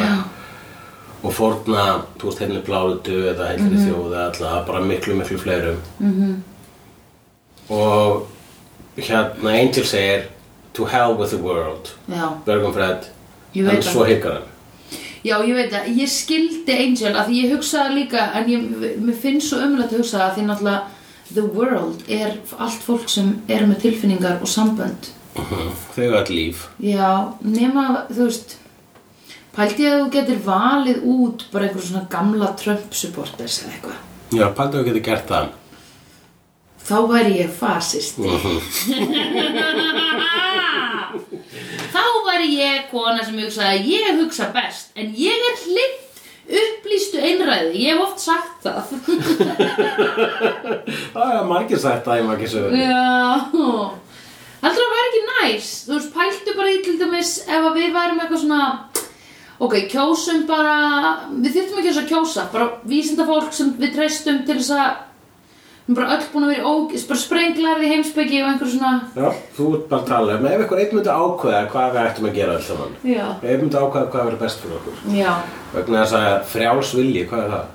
S2: Og fórna, þú veist, hérna henni plálutu Eða henni
S1: Mhm.
S2: mm þjóða alltaf Bara miklu, miklu fleirum mm -hmm. Og hérna Angel segir To hell with the world
S1: já,
S2: Björgum Fred
S1: Ég veit
S2: En
S1: það.
S2: svo hikar hann
S1: já, ég veit það ég skildi Angel að því ég hugsaði líka en ég, mér finnst svo ömulegt að hugsa það því náttúrulega the world er allt fólk sem er með tilfinningar og sambönd
S2: Þau öll líf
S1: Já, nema, þú veist Pældi ég að þú getur valið út bara einhver svona gamla Trump supporters eða eitthvað
S2: Já, pældu að þú getur gert það
S1: Þá væri ég fasist Þá væri ég kona sem hugsaði að ég hugsa best en ég er hlitt upplýstu einræði, ég hef oft sagt það
S2: Það er margir sagt það í margir sögur
S1: Já Heldur það væri ekki næs Þú veist, pæltu bara í til dæmis ef að við værum eitthvað svona Ok, kjósum bara Við þyrftum ekki þess að kjósa Bara vísinda fólk sem við treystum til þess að Við erum bara öll búin að vera í ógis Bara sprenglarði heimspeki og einhver svona
S2: Já, þú ert bara að tala um Ef einhver einn myndi ákveða hvað við ættum að gera alltaf mann
S1: Já
S2: Ef einn myndi ákveða hvað verður best fyrir okkur
S1: Já
S2: Vegna þess að frjáls vilji, hvað er það?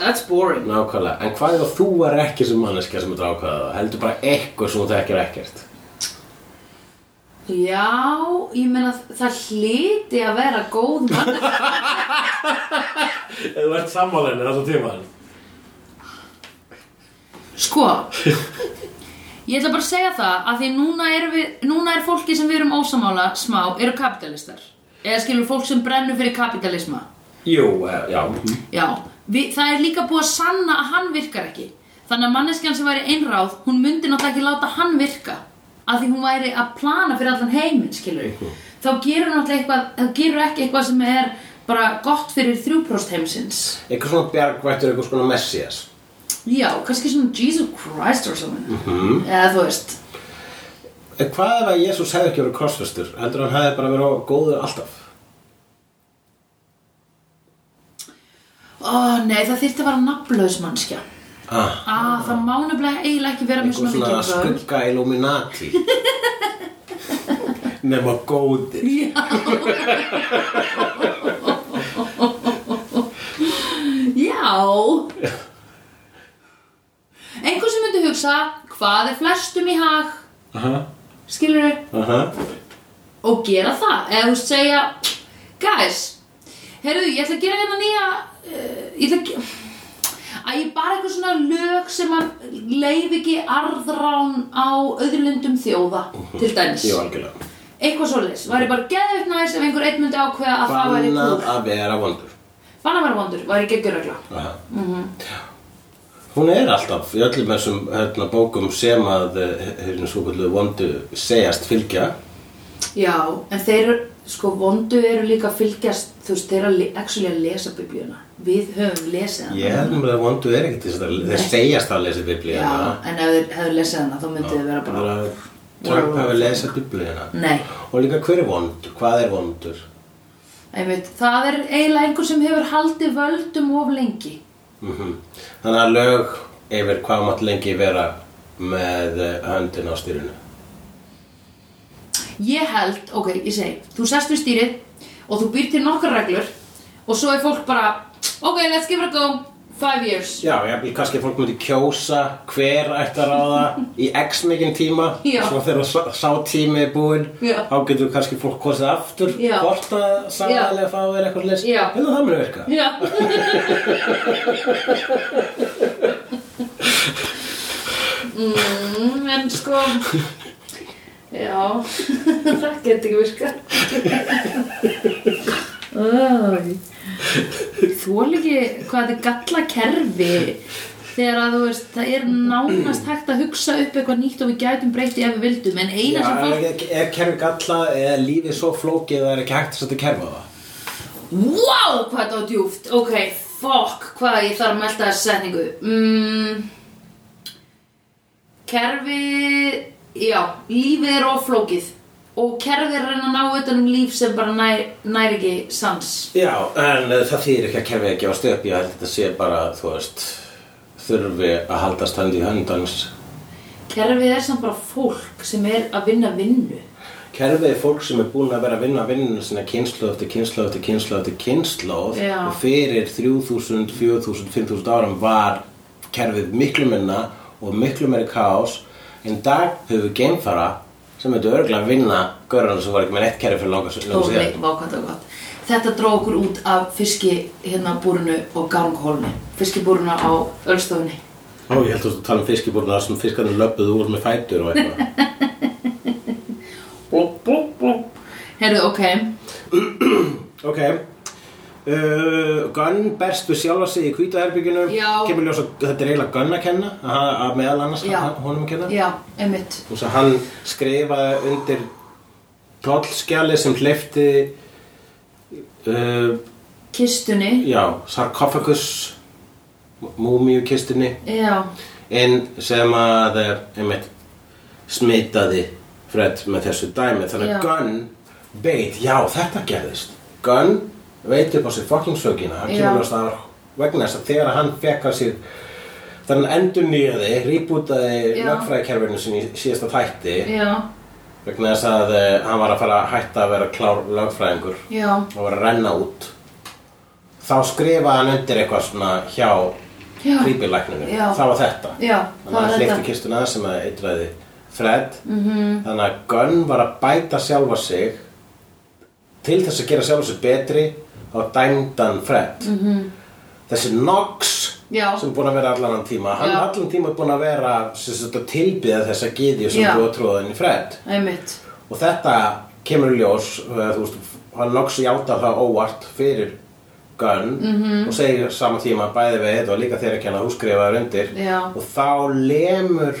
S1: That's boring
S2: Nákvæmlega, en hvað er það þú er ekki sem manneskja sem myndi ákveða það? Heldur bara eitthvað sem þú þekkir ekkert
S1: Já, ég meina það hliti að vera góð mann
S2: Ef þú ert sammálinni þessum tímaðan
S1: Sko Ég ætla bara að segja það að því núna er, við, núna er fólki sem við erum ósamála smá eru kapitalistar eða skilur fólk sem brennur fyrir kapitalisma
S2: Jú, eh, já
S1: Já, við, það er líka búið að sanna að hann virkar ekki þannig að manneskjan sem væri einráð hún myndi náttúrulega ekki láta hann virka að því hún væri að plana fyrir allan heiminn skilur þá gerur náttúrulega eitthvað þá gerur ekki eitthvað sem er bara gott fyrir 3% heimsins
S2: Eitthvað svona bjargvættur, eitthvað svona messias
S1: Já, kannski svona Jesus Christ or something eða þú veist
S2: En hvað ef að Jésús hefði ekki verið krossfestur? Heldur hann hefði bara verið góður alltaf?
S1: Ó, nei, það þyrfti að vera nafnlaus mannskja.
S2: Ah,
S1: Ah, það má nefnilega eiginlega ekki vera með
S2: einhver
S1: svona
S2: svona
S1: mikið börn.
S2: skugga Illuminati nema góðir
S1: Já. Einhver sem myndi hugsa, hvað er flestum í hag,
S2: aha,
S1: skilur þau,
S2: aha.
S1: og gera það. Eða þú veist segja, guys, heyrðu, ég ætla að gera hérna nýja, uh, ég ætla að gera... Æ, bara eitthvað svona lög sem að leif ekki arðrán á öðurlundum þjóða, til dæmis.
S2: Jú, algjörlega
S1: eitthvað svoleiðis, væri bara geðveikt næs ef einhver einn myndi ákveða að það væri
S2: bannað
S1: kúl
S2: að vera vondur
S1: Banna væri vondur, væri geggjur regla
S2: aha Hún er alltaf í öllum þessum hérna, bókum sem að eh, hérna svo kvöldu vondu segjast fylgja
S1: Já, en þeir, sko, vondu eru líka að fylgjast, þú veist, þeir eru að le- actually að lesa biblíuna Við höfum lesið hana
S2: Ég held mér að vondu er ekkert þess að þeir segjast að lesa
S1: Já,
S2: biblíuna
S1: en ef þeir hefðu lesið hana, þá myndið þið vera bara
S2: að Trump hefur lesað biblíuna
S1: Nei,
S2: Og líka hver er vondur? Hvað er vondur?
S1: einmitt, það er eiginlega einhver sem hefur haldið völdum of lengi
S2: Mhm. Þannig að lög yfir hvað mátt lengi vera með eh, höndin á styrinu.
S1: Ég held, ok, ég segi, þú sest við stýrið og þú býr til nokkar reglur og svo er fólk bara, ok, let's give it a go, five years
S2: Já, ég vil kannski að fólk myndi kjósa hver ætti að ráða í x mikinn tíma
S1: Já.
S2: svo þegar sá, sá tími er búinn
S1: Já.
S2: þá getur kannski fólk kosið aftur
S1: Já.
S2: hvort að sagðarlega fá þér eitthvað leys
S1: Já.
S2: en það muni virka
S1: Já mm, En sko Já Það geti ekki virka Þú líki hvað þetta er galla kerfi Þegar að þú veist, það er nánast hægt að hugsa upp eitthvað nýtt og við gætum breytti ef við vildum En
S2: Já,
S1: eina sem fólk
S2: er, er kerfi galla eða lífið svo flókið að það er ekki hægt að setja kerfa á það
S1: Wow, hvað það var djúft Ok, fuck, hvað ég þarf að melda þessa setningu mm, Kerfi, já, lífið er oflókið Og kerfið er að reyna að ná utan um líf sem bara nær, nær ekki sans
S2: Já, en uh, það þýðir ekki að kerfið að gefa stöp Ég held að þetta sé bara, þú veist Þurfi að halda standi í höndans
S1: Kerfið er samt bara fólk sem er að vinna vinnu
S2: Kerfið er fólk sem er búin að vera að vinna vinnunum sinna kynslu eftir kynslu eftir kynslu eftir kynslu
S1: Já.
S2: og fyrir 3000, 4000, 5000 árum var kerfið miklu minna og miklu meiri kaos en í dag höfum við geimfara sem hefðu örgulega að vinna görðan sem var ekki með neitt kerfi fyrir
S1: Ó,
S2: langa langa
S1: nei,
S2: síðan
S1: vá, hvað það var gott. Þetta dró okkur út af fiski hérna búrinu og ganghólni Fiskibúruna á Ölstofunni
S2: Ó, ég held að þú tala um fiskibúrna þar sem fiskarnir löppuðu úr með fætur og eitthvað
S1: Blop, blop, blop Heyrðu, ok
S2: Ok Uh, Gunn berst við sjálfa sig í kvítaherbygginu
S1: Já.
S2: kemur ljós að þetta er eiginlega Gunn að kenna að, að meðal annars
S1: Já.
S2: að honum að kenna
S1: Já, einmitt
S2: og svo hann skrifaði undir tollskjali sem hleyfti uh,
S1: Kistunni
S2: já, sarkofagus múmiukistinni
S1: Já,
S2: inn sem að eh, einmitt, smitaði Fred með þessu dæmi þannig
S1: Já.
S2: að Gunn veit, já þetta gerðist Gunn veit upp á sér fucking sögina hann
S1: Já.
S2: kemur ljóst að vegna þess að þegar hann fekk að sér þannig að endur nýjaði, rýbútaði
S1: Já.
S2: lögfræðikerfinu sinni í síðasta þætti
S1: já,
S2: vegna þess að uh, hann var að fara að hætta að vera klár lögfræðingur
S1: já
S2: og var að renna út þá skrifaði hann undir eitthvað svona hjá
S1: Já.
S2: creepy-lækninu
S1: Já.
S2: það var þetta
S1: Já, það
S2: þannig að
S1: var
S2: hann hleyfti
S1: þetta. Mhm.
S2: kistuna að sem að eitraði Fred -hmm. þannig að Gunn var að bæta sjálfa sig til þess að gera sjálfa sig betri á dæmdan Fred mm -hmm. þessi Nox
S1: Mhm. Já.
S2: sem er búin að vera allan hann tíma hann
S1: Já.
S2: allan tíma er búin að vera sem sagt, að tilbyða þessa gíðju sem
S1: Já.
S2: þú að tróða inn í Fred
S1: Einmitt
S2: og þetta kemur í ljós eh, þú veist, hann loks játa það óvart fyrir Gunn
S1: Mhm.
S2: -hmm. og segir saman tíma bæði við þetta og líka þegar ekki hann að útskrifaður undir
S1: Já.
S2: og þá lemur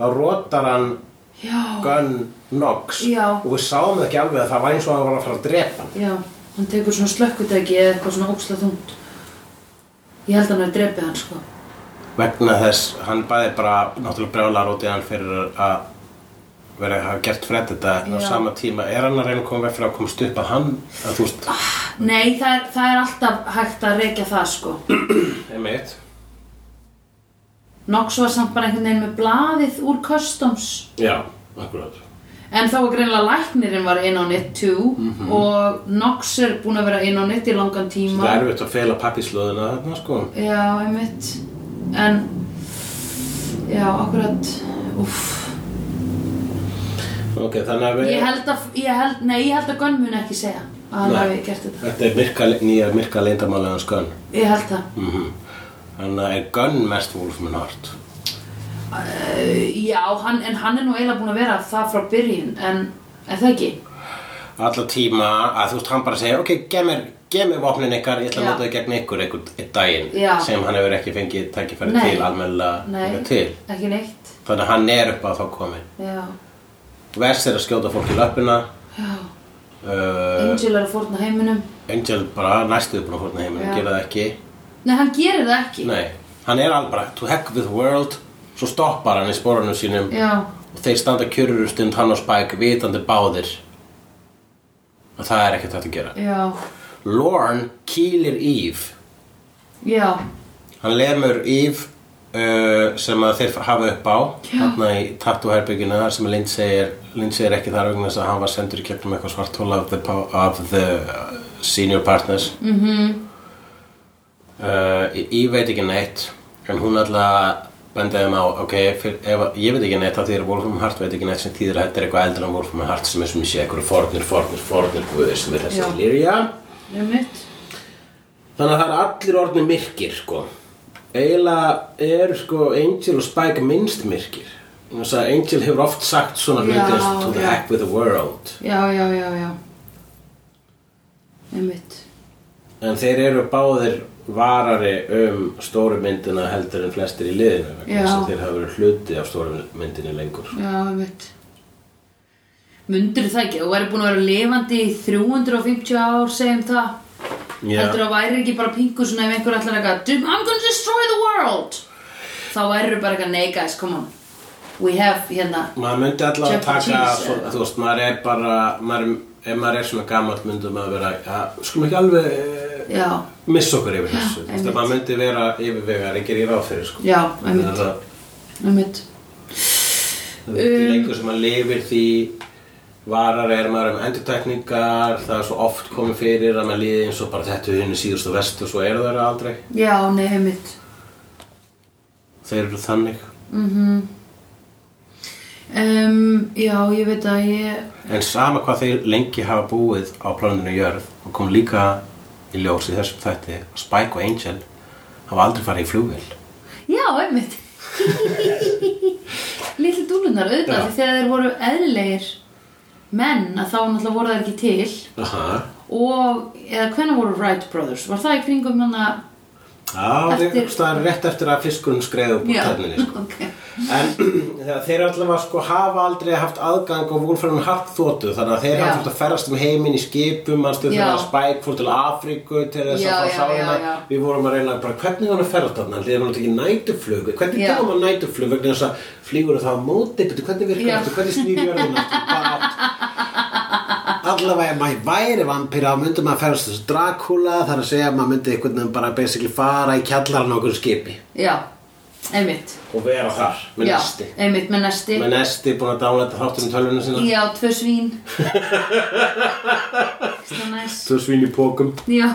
S2: þá rótar hann
S1: Já,
S2: Gunn Nox
S1: Oh. Já.
S2: og við sáum ekki alveg að það var eins og hann var að fara að drepa hann.
S1: já Hann tekur svona slökkutæki eða eitthvað svona óksla þungt Ég held að hann hafi drepið hann, sko
S2: vegna þess hann bæði bara náttúrulega brjálar út í hann fyrir að vera að hafa gert fredd þetta en á
S1: Já.
S2: sama tíma er hann að reyna að koma veg fyrir að komast upp að hann að þú veist,
S1: Ah. Nei, það er, það er alltaf hægt að reykja það, sko
S2: einmitt
S1: Nox var samt bara einhvern veginn með blaðið úr customs
S2: já, akkurat
S1: En þá var greinlega læknirinn var inn á net 2 og Nox er búin að vera inn á net í langan tíma
S2: Það er erfitt að fela pappislöðuna þarna sko
S1: Já, einmitt En Já, akkurat Úff
S2: Ok, þannig að við
S1: Ég held að, ég held, nei, ég held að Gunn mun ekki segja að hann
S2: Nei.
S1: hafi gert þetta
S2: Þetta er myrka, nýja myrka leindamálega hans Gunn
S1: Ég held það
S2: mm Þannig að er Gunn mest Wolfman Hart
S1: Uh, Já, hann, en hann er nú eiginlega búin að vera það frá byrjun En, en það ekki
S2: Alla tíma að þú veist hann bara segja Ok, gef mér, gef mér vopnin ykkar Ég ætla að
S1: Já.
S2: nota þau gegn ykkur einhvern einn daginn
S1: Já.
S2: sem hann hefur ekki fengið tækifæri
S1: Nei.
S2: til almennilega
S1: Nei,
S2: til
S1: ekki neitt
S2: Þannig að hann er upp að þá komin
S1: Já,
S2: Vers er að skjóta fólk í löppina
S1: já
S2: uh,
S1: Angel er að fórna heiminum
S2: Angel bara næstuðu búin að fórna heim
S1: Já.
S2: en gera það ekki
S1: Nei, hann gerir það ekki
S2: Nei, hann er alveg bara to heck with the world svo stoppar hann í sporunum sínum
S1: Já,
S2: og þeir standa kjörur stund hann og Spike vitandi báðir og það er ekkert hægt að gera
S1: já,
S2: Lorne kýlir Eve
S1: já
S2: hann lemur Eve uh, sem að þeir hafa upp á hérna í tattooherbygginu þar sem Lindsay er, Lindsay er ekki þar vegna þess að hann var sendur í gegnum eitthvað svart hóla of the, po- of the uh, senior partners mm Eve veit ekki neitt en hún alltaf bendaði um á ok, fyr, ef, að- ég veit ekki neitt að því er Wolfram Hart veit ekki neitt sem þýðir að þetta er eitthvað eldur en Wolfram Hart sem er sem ég sé eitthvað fornir, fornir, fornir guðir sem er
S1: Já.
S2: þessi lýrja
S1: Einmitt
S2: Þannig að það er allir orðnir myrkir sko. Eiginlega er sko Angel og Spike minnst myrkir Þannig að Angel hefur oft sagt svona
S1: Já,
S2: hluti eins og to the
S1: já.
S2: heck with the world
S1: Já, já, já, já Einmitt
S2: En þeir eru báðir varari um stóru myndina heldur en flestir í liðinu vegna
S1: Já.
S2: þess að þeir hafa verið hluti af stóru myndinni lengur
S1: Já, einmitt Mundur það ekki, þú væri búin að vera lifandi í 350 ár, segjum það
S2: Já.
S1: heldur að væri ekki bara pingu svona ef einhver ætlar eitthvað "Dude, I'm gonna destroy the world þá væri bara eitthvað nei guys, come on we have hérna
S2: maður myndi alltaf að
S1: Chuck E.
S2: taka
S1: Cheese,
S2: svo,
S1: eða?
S2: þú veist, maður er bara maður, ef maður er svona gamall myndi maður vera ja, skulum ekki alveg eh,
S1: já,
S2: missa okkur yfir þessu þú veist,
S1: einmitt.
S2: að maður myndi vera yfirvegar ekki í ráð fyrir sko.
S1: já,
S2: Þannig
S1: einmitt,
S2: að það-
S1: einmitt
S2: það
S1: Um,
S2: er ekki lengur sem maður lifir því varar er maður um endurtekningar það er svo oft komið fyrir að maður liði eins og bara þetta er henni síðust og vest og svo eru þeirra aldrei
S1: já, nei, einmitt
S2: þeir eru þannig
S1: um, já, ég veit að ég
S2: En sama hvað þeir lengi hafa búið á pláninu jörð og kom líka í ljós í þessum þætti að Spike og Angel hafa aldrei farið í flugvél.
S1: Já, einmitt Lítið dúlunar, auðvitað
S2: Já.
S1: því þegar þeir voru eðlilegir menn að þá náttúrulega voru þeir ekki til
S2: Aha.
S1: og, eða hvenær voru Wright Brothers? Var það í kringum hann að
S2: Já,
S1: Eftir-
S2: eftir... það er rétt eftir að fiskurinn skreiði upp úr tönninni. Sko.
S1: ok
S2: En þegar þeir allavega sko hafa aldrei haft aðgang og Wolfram hart þóttu þannig að þeir
S1: Já.
S2: hafa þurft að ferðast um heiminn í skipum mannstu
S1: Já.
S2: þegar að Spike fór til Afríku til þess
S1: Já, já,
S2: að fá sána
S1: já, já.
S2: við vorum að reyna bara hvernig hann að ferða þarna þegar hann tekið nætuflug hvernig
S1: Já.
S2: tegum að nætuflug vegna þess að flýgur það á móti betur hvernig virkar
S1: Já.
S2: þetta hvernig snýr jörðin aftur, bara aftur. allavega ef maður væri vampíra þá myndi maður ferðast þessu Dracula þar að segja að maður myndi einhvern veginn bara basically fara í kjallaran á okkur skipi
S1: Já, einmitt
S2: og vera þar með
S1: Já,
S2: næsti
S1: einmitt með nesti
S2: með nesti búin að dálæta þáttunum tölvuna sína
S1: Já, tvö svín Svona næs
S2: tvö svín í pókum
S1: Já,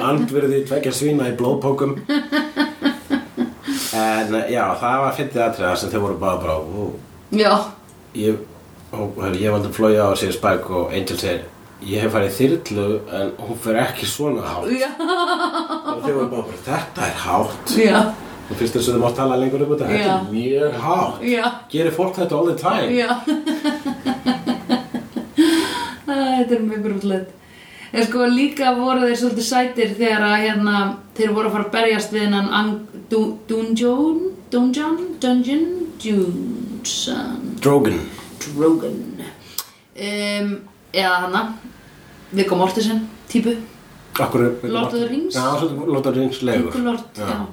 S2: andverði tvekja svína í blóðpókum en já það var fyndið aðtriða sem þau voru bara bara ó,
S1: já,
S2: ég, ó, hör, ég valdi að flója á og segir Spike og Angel segir ég hef farið í þyrlu en hún fer ekki svona hátt
S1: já,
S2: og þau voru bara bara þetta er hátt
S1: já,
S2: og fyrst þess að þau mátt tala lengur um þetta þetta
S1: Já.
S2: er mjög hátt
S1: já,
S2: gerir fólk þetta all the time
S1: já. Æ, Þetta er mjög grútlegt En sko líka voru þeir svolítið sætir þegar að hérna þeir voru að fara að berjast við hennan Ang- Dun- Dungeon, Dungeon, Dungeon, Dungeon
S2: Drogon
S1: Drogon um, eða hana Viggo Mortensen típu
S2: Akkur,
S1: Lord of the Rings?
S2: Já, svolítið Lord of the Rings legur
S1: Ingulort
S2: Já.
S1: já.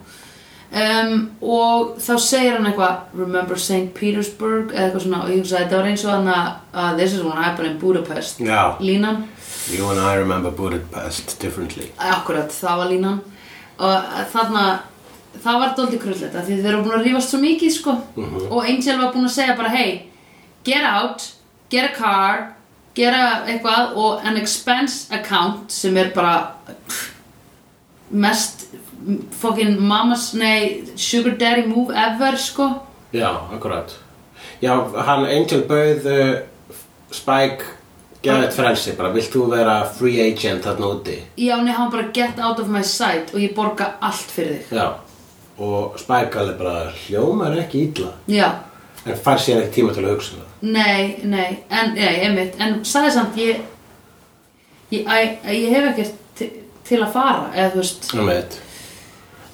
S1: Um, og þá segir hann eitthvað Remember St. Petersburg eða eitthvað svona og ég hugsaði þetta var eins og hann að This is what happened in Budapest
S2: Já.
S1: línan,
S2: You and I remember Budapest differently
S1: akkurat það var línan og eh, þarna það var dóldi krullet af því þeir eru búin að rífast svo mikið sko og Angel var búin að segja bara hey get out, get a car get a eitthvað og an expense account sem er bara mest fucking mamas, nei, sugar daddy move ever, sko
S2: Já, akkurat Já, hann Angel bauð uh, Spike geðið frelsi bara, vilt þú vera free agent þarna úti?
S1: Já, nei, hann bara get out of my sight og ég borga allt fyrir þig
S2: Já Og Spike alveg bara hljómar ekki illa
S1: Já,
S2: en fær sér ekki tíma til að hugsa um það
S1: nei, nei, en, nei, einmitt en sagði samt, ég ég, æ, ég hef ekkert ti- til að fara, eða þú veist
S2: Nú með þetta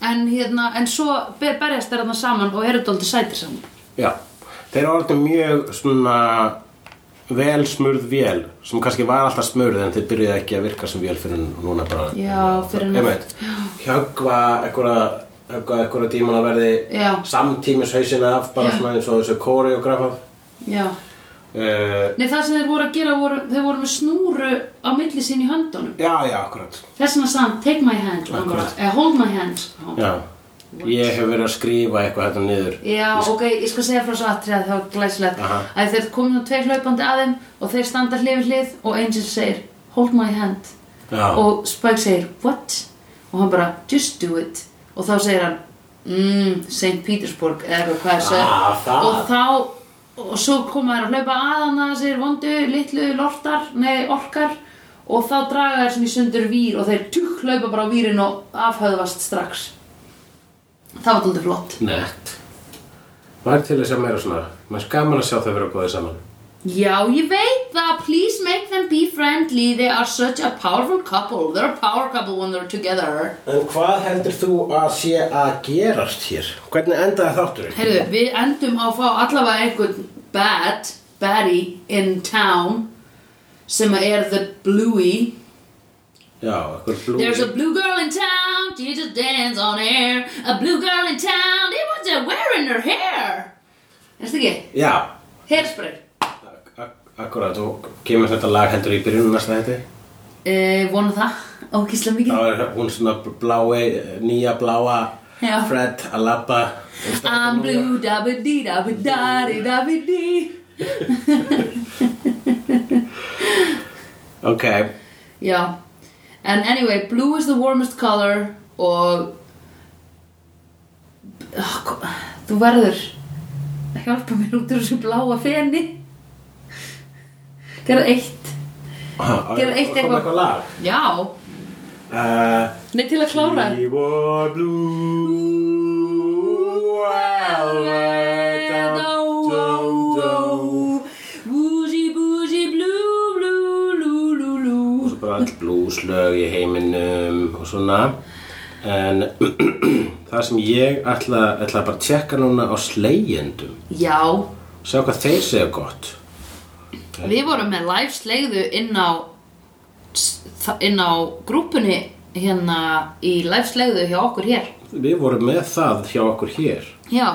S1: en hérna, en svo ber, berjast þeir þarna saman og eru dóldi sætir saman
S2: Já, þeir eru orðin mjög svona vel smurð vél sem kannski var alltaf smurð en þeir byrjuði ekki að virka sem vél fyrir núna bara
S1: Já, fyrir
S2: en
S1: núna.
S2: einmitt, hjöggva einhverja eitthvað einhverja tíman að verði
S1: Já.
S2: samtímis hausin af bara
S1: Já.
S2: svona eins og þessu kóri og grafa
S1: Já,
S2: uh,
S1: nei, það sem þeir voru að gera voru, þeir voru með snúru á milli sín í höndunum
S2: já, já, akkurat
S1: Þess vegna sagði hann, take my hand, hann bara,
S2: Akkurat.
S1: eh, hold my hand. sagði hann.
S2: já. ég hef verið að skrifa eitthvað þetta niður
S1: Já, ok, ég skal segja frá svo aðtrið að það var glæsilegt.
S2: Aha.
S1: Að þeir komin og tveir hlaupandi að þeim og þeir standa hlið við hlið og Angel segir, hold my hand.
S2: Já.
S1: Og Spike segir, what? Og hann bara, just do it. Og þá segir hann, mmm, St. Petersburg, eða eitthvað hvað þessu.
S2: Ah, það.
S1: Og þá, og svo koma þeir að hlaupa að hann að segir vondu, litlu, lortar, nei, orkar. Og þá draga þeir svona í sundur vír og þeir tjúk hlaupa bara á vírin og afhöðvast strax. Það var tóldið flott.
S2: nett var til þess að meira svona maður er gaman að sjá þau vera góðið saman
S1: Já, ég veit það. Please make them be friendly. They are such a powerful couple. They're a power couple when they're together.
S2: En hvað heldur þú að sé að gerast hér? Hvernig endaði þátturinn?
S1: Heyrðu, við endum á að fá allavega einhvern bad, baddie in town sem að er the bluey
S2: Já, eitthvað blú
S1: There's a blue girl in town, she just dance on air. A blue girl in town, they was just wearing her hair. Er þetta ekki?
S2: Já,
S1: Hairspray.
S2: ak- ak- akkurat og kemur þetta lag hendur í byrjunum næsta þetta
S1: Uh, vona það, ókíslega mikið.
S2: Þá er hún svona blái, nýja bláa
S1: Já.
S2: Fred að labba er
S1: I'm blue, da ba dee da ba da dee da ba dee.
S2: Ok,
S1: Já, en anyway, blue is the warmest color og oh, hva- þú verður að hjálpa mér út úr þessu bláa feni gera eitt Gerðu eitt eitthvað.
S2: kom eitthvað lag
S1: já,
S2: Uh,
S1: nei til að klára
S2: We were blue Wild dum, dum, dum.
S1: Woozy boozy blue blue blue blue
S2: Og
S1: blue
S2: svo bara all blúslög í heiminum og svona En það sem ég ætla, ætla bara að tjekka núna á slegjendum
S1: Já,
S2: Sjá hvað þeir segja gott
S1: við vorum með live slegðu inn á inn á grúpunni hérna í live slegðu hjá okkur hér
S2: Við vorum með það hjá okkur hér
S1: Já,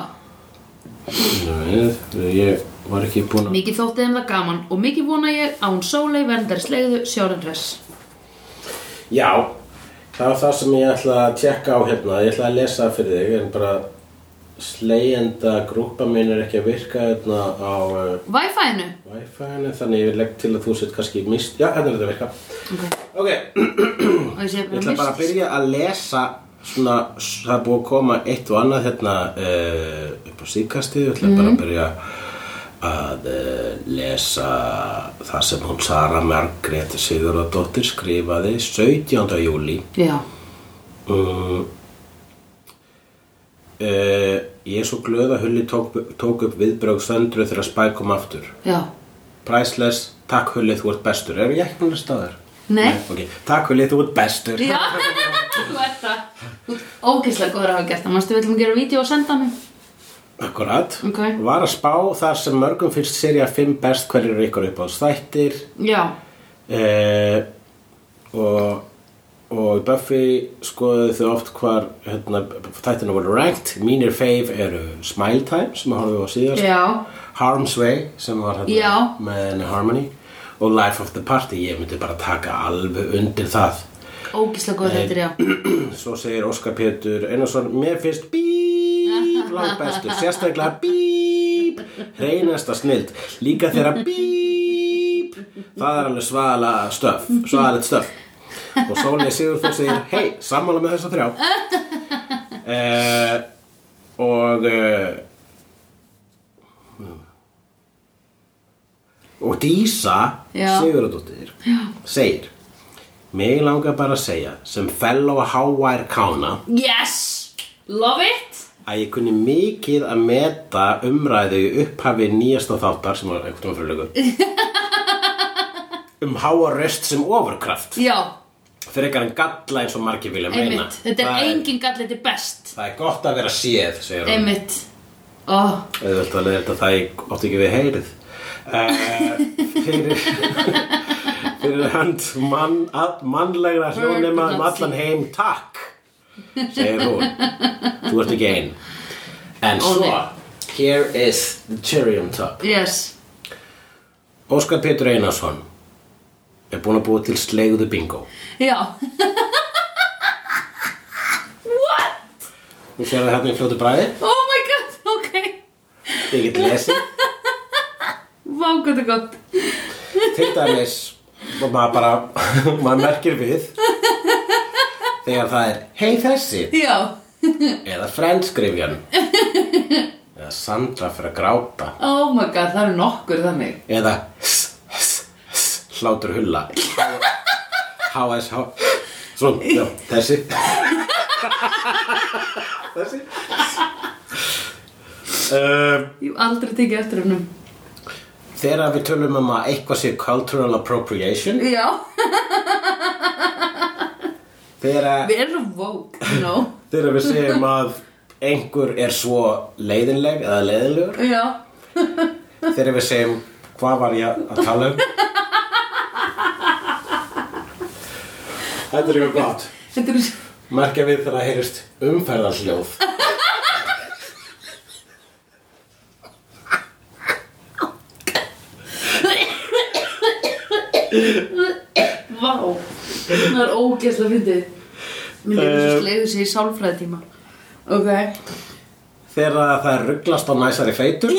S2: Nú Við, ég var ekki búin að
S1: mikið þótti þeim það gaman og mikið vona ég að hún sólei verndari slegðu sjórenress
S2: Já, það var það sem ég ætla að tjekka á hérna. Ég ætla að lesa það fyrir þig, en bara slegjenda grúpa mín er ekki að virka hérna á uh,
S1: Wi-Fi-inu
S2: Wi-Fi-inu, þannig ég legg til að þú sett kannski mist. Já, hérna er þetta að virka.
S1: Ok,
S2: Ok, ég
S1: og ég sé bara
S2: ætla bara
S1: mist
S2: að byrja að lesa svona, það er búið að koma eitt og annað hérna uh, upp á síðkastið. Ég ætla
S1: Mhm.
S2: bara að byrja að uh, lesa það sem hún Sara Margrét Sigurðardóttir skrifaði 17. júli
S1: Já,
S2: Uh, uh, ég er svo glöð að Hulli tók, tók upp viðbrögg söndru þegar Spike kom aftur
S1: já,
S2: Priceless, takk Hulli, þú ert bestur Er ég ekki búin að staðar?
S1: nei
S2: Ok, takk Hulli, þú ert bestur
S1: Já, þú ert það Þú ert ógeðslega góður að hafa gert það Manstu við ætlum að gera vídeo og senda hann
S2: Akkurat
S1: Ok.
S2: Var að spá þar sem mörgum fyrst serið 5 best hverjir eru ykkur upp á þættir
S1: Já,
S2: uh, og og í Buffy skoðuðu þau oft hvar hérna, þættina voru ranked mínir fave eru Smile Time sem að horfum á síðast
S1: já,
S2: Harm's Way sem var
S1: Já.
S2: hérna með henni Harmony og Life of the Party, ég myndi bara taka alveg undir það
S1: ógeðslega góður þetta er já
S2: svo segir Óskar Pétur Einarsson, mér finnst bíp langbestur, sérstaklega bíp hreinasta snild líka þeirra bíp það er alveg svala stöf svalit stöf og Sólei Sigurþór segir, hei, sammála með þessa þrjá eh, og eh, og Dísa
S1: Já.
S2: Sigurðardóttir segir Mig langar bara að segja, sem fellow HR kána,
S1: Yes, love it
S2: að ég kunni mikið að meta umræðu í upphafi nýjasta þáttar, sem var einhvern veginn fyrir lögur, um HR röst sem ofurkraft,
S1: Já,
S2: fyrir ekkar en galla eins og margir vilja meina.
S1: einmitt Þetta
S2: Það
S1: er engin gall, þetta er best
S2: Það er gott að vera séð, segir hún.
S1: Einmitt Ó,
S2: auðvitað að leiða þetta það ég átti ekki við heyrið uh, fyrir fyrir hönd mann, að, mannlegra hljónema um allan heim takk segir hún þú ert ekki ein en
S1: Ó,
S2: svo
S1: nei.
S2: here is the cherry on top
S1: yes
S2: Óskar Pétur Einarsson er búin að búa til slegðu bingo
S1: Já What?
S2: þú sér það hérna í fljótu bræði
S1: Oh my god, ok
S2: ég get lesið
S1: Vá, hvað er gott
S2: til dæmis og maður bara, maður merkir við þegar það er hei þessi
S1: Já,
S2: eða frenskrifjan eða Sandra fyrir að gráta
S1: oh my god, það eru nokkur þannig
S2: eða hss, hss, hss, hlátur hulla HSH svona, já, þessi þessi um,
S1: Ég hef aldrei tekið eftir hennum
S2: þegar við tölum um að eitthvað sé cultural appropriation
S1: Já,
S2: þegar að
S1: við erum vók No
S2: Þegar við segjum að einhver er svo leiðinleg eða leiðinlegur
S1: Já,
S2: Þegar við segjum hvað var ég að tala um Þetta er eitthvað gott.
S1: Þetta er
S2: Merkja við þegar það heyrist umferðarhljóð.
S1: Vá, það er ógeðslega fyndið Mér er
S2: Eh.
S1: svo sleiðu sig í sálfræðitíma Ok
S2: Þegar það er rugglast á næsari feitur.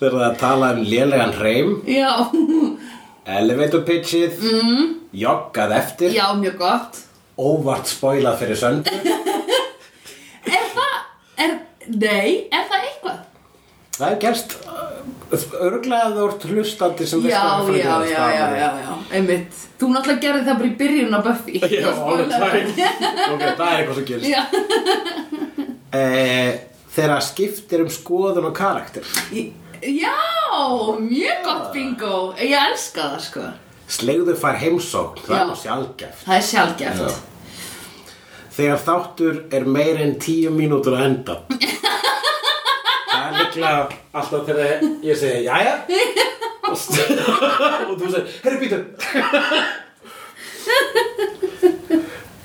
S2: Þegar það er talað um lélegan reym,
S1: Já,
S2: elevator pitchið, mm. joggað eftir,
S1: já, mjög gott
S2: óvart spoilað fyrir söndur.
S1: Er það, er, nei, er það eitthvað?
S2: Það er gerst örglega þú ert hlustandi sem
S1: Já,
S2: veist
S1: já,
S2: að það er
S1: já, já, já, já, einmitt Þú náttúrulega gerði það bara í byrjun á Buffy
S2: Já,
S1: Það
S2: alveg
S1: spoilaði.
S2: það er- ok, það er eitthvað sem gerist.
S1: Já,
S2: Eh, þegar það skiptir um skoðun og karakter
S1: já, mjög gott bingo Ég elska það, sko
S2: slegðu fær heimsókn það er
S1: Já.
S2: nú sjálfgæft
S1: Það er sjálfgeft
S2: Já. þegar þáttur er meir en tíu mínútur að enda það er líklega alltaf þegar ég segi jæja og, st- og þú segir herri býtu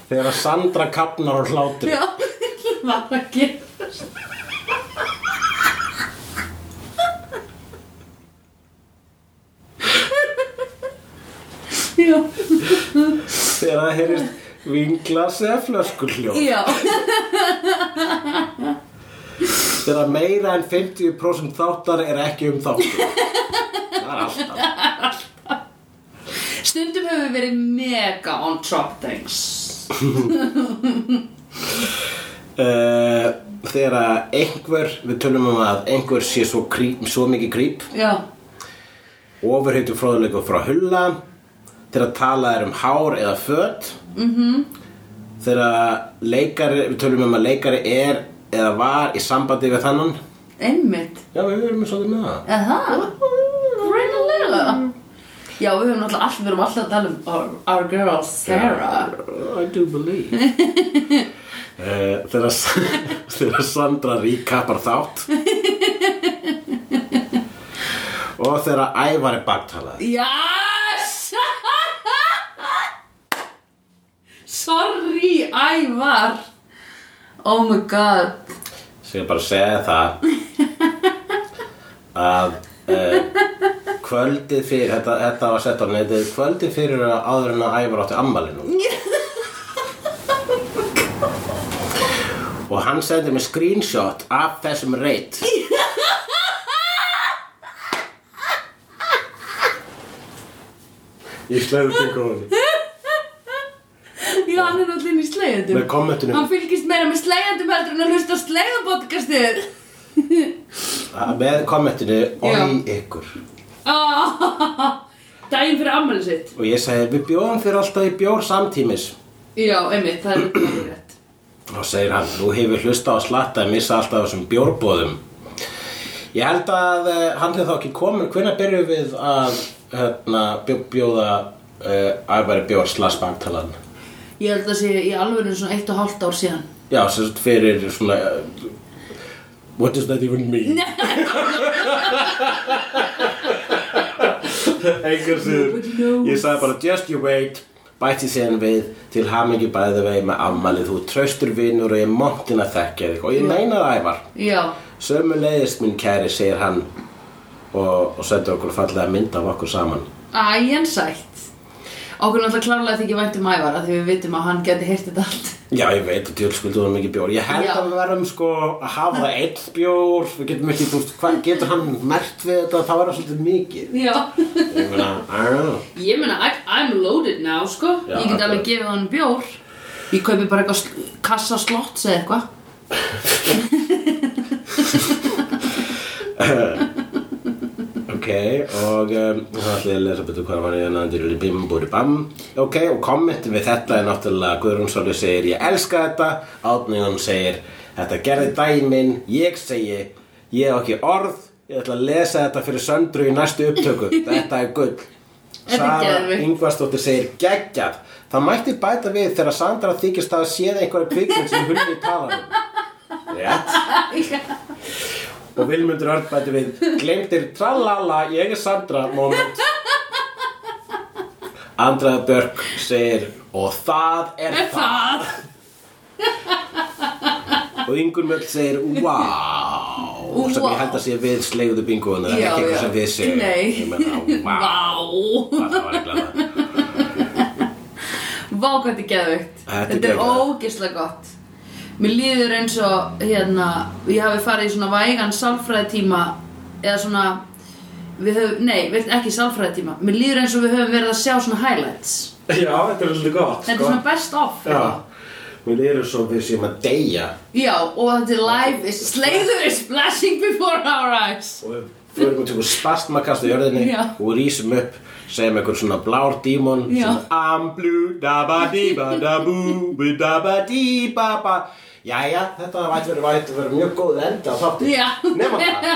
S2: þegar að Sandra kapnar á hlátur
S1: Já, var að gerast Já,
S2: þegar það heyrist vinglas eða flöskuhljó
S1: já,
S2: Þegar meira en 50% þáttar er ekki um þáttur Það er alltaf
S1: stundum hefur við verið mega on top things
S2: uh, Þegar að einhver, við tölum um að einhver sé svo, krýp, svo mikið krýp
S1: Já,
S2: Ofurheitu fróðleiku frá hulla Þegar talað er um hár eða föt mm -hmm. Þegar leikari, við tölum um að leikari er eða var í sambandi við þannan
S1: einmitt
S2: Já, við erum svolítið með það
S1: Eða það? Greinilega Já, við höfum náttúrulega alltaf, við erum alltaf að tala um our, our girl Sarah
S2: I do believe uh, þegar, þegar Sandra ríkappar þátt og þegar Ævar er baktalað
S1: Yes! Sorry, Ævar Oh my god
S2: sem ég bara segja það að uh, kvöldið fyrir þetta, þetta var sett á netið kvöldið fyrir að áður en að Ævar átti ammalinu og hann sendi mig screenshot af þessum reyt Ég slæði til góðan
S1: Já, hann er allir í slegjandum
S2: Með kommentunum.
S1: Hann fylgist meira með slegjandum heldur en að hlusta á slegjandpodcastið
S2: Með kommentinu og ykkur
S1: Ah, Daginn fyrir ammæli sitt
S2: Og ég segi, við bjóðum þér alltaf í bjór samtímis
S1: Já, einmitt, það er alveg rétt
S2: Og segir hann, þú hefur hlusta á slatta að missa alltaf af þessum bjórbóðum Ég held að uh, hann hefði þá ekki komin Hvenær byrjuðum við að hérna, bjó- bjóða uh, Ævari bjór slags baktalan?
S1: Ég held að sé í alveg svona eitt og hálft ár síðan
S2: Já, sem sagt fyrir svona uh, What does that even mean? Engur
S1: Nobody knows.
S2: síður Ég sagði bara just you wait Bætti síðan við til hamingi bæði vegi með afmælið Þú ert traustur vinur og ég montin að þekka þig Og ég meina það ævar
S1: Já,
S2: Sömu leiðist minn kæri, segir hann Og, og sendi okkur fallega mynd af okkur saman
S1: æjan sætt Okkur náttúrulega klárlega þykir vænt um Ævar af Því við vitum að hann geti heyrt þetta allt
S2: Já, ég veit að djölskuldu var mikið bjór. Ég held
S1: Já.
S2: að við verðum sko að hafa það einn bjór. Við getum ekki, þú veist, hvað getur hann mert við þetta? Það verður svolítið mikið.
S1: Já
S2: Ég meina, I don't know.
S1: Ég meina, I- I'm loaded now, sko
S2: Já,
S1: Ég get alveg
S2: akkurat.
S1: gefið hann bjór Ég kaupi bara eitthvað sl- kassa slotts eða eitthvað
S2: Ok, og um, þá ætlum ég að lesa betur hvað var ég að þetta er bim búri bam. Ok, og kommentin við þetta er náttúrulega Guðrún Sólu segir ég elska þetta, Átnýjón segir þetta gerði dæmin, ég segi ég á ekki orð, ég ætla að lesa þetta fyrir söndru í næstu upptöku, þetta er gull.
S1: er
S2: Sara
S1: geðveikt.
S2: Ingvarsdóttir segir geggjað, það mætti bæta við þegar Sandra þykist að hafa séð einhverja kvikmynd sem hulmi í talanum. Rétt. Og Vilmundur Örn bæti við Gleimtir tralala, ég er Sandra moment Andrað Björk segir og það er
S1: Er það?
S2: það og Ingun Möll segir wow, sem
S1: Wow.
S2: ég held að sé við slegðu bingoðun það er
S1: Já,
S2: ekki
S1: já.
S2: eitthvað sem við segjum
S1: Nei.
S2: Ég meina, wow,
S1: Vá
S2: Hvað það var eitthvað það
S1: Vá hvað þetta er geðvögt
S2: Þetta er
S1: Þetta er
S2: geggjað.
S1: ógeðslega gott Mér líður eins og hérna Ég hafi farið í svona vægan sálfræðitíma Eða svona Við höfum, nei, við- ekki sálfræðitíma Mér líður eins og við höfum verið að sjá svona highlights
S2: Já, þetta er svolítið gott sko.
S1: Þetta er svona best of
S2: Já,
S1: hérna.
S2: við erum svo við séum að deyja
S1: Já, og þetta er live is, Slayður is flashing before our eyes
S2: og við förum út ykkur spastmakast í jörðinni
S1: Já.
S2: og rýsum upp segjum einhvern svona blár dímon
S1: Já.
S2: sem I'm blue, daba diba dabu, daba diba ba Jæja, þetta vært verið vært verið mjög góð enda á þátti
S1: Já.
S2: Nefna það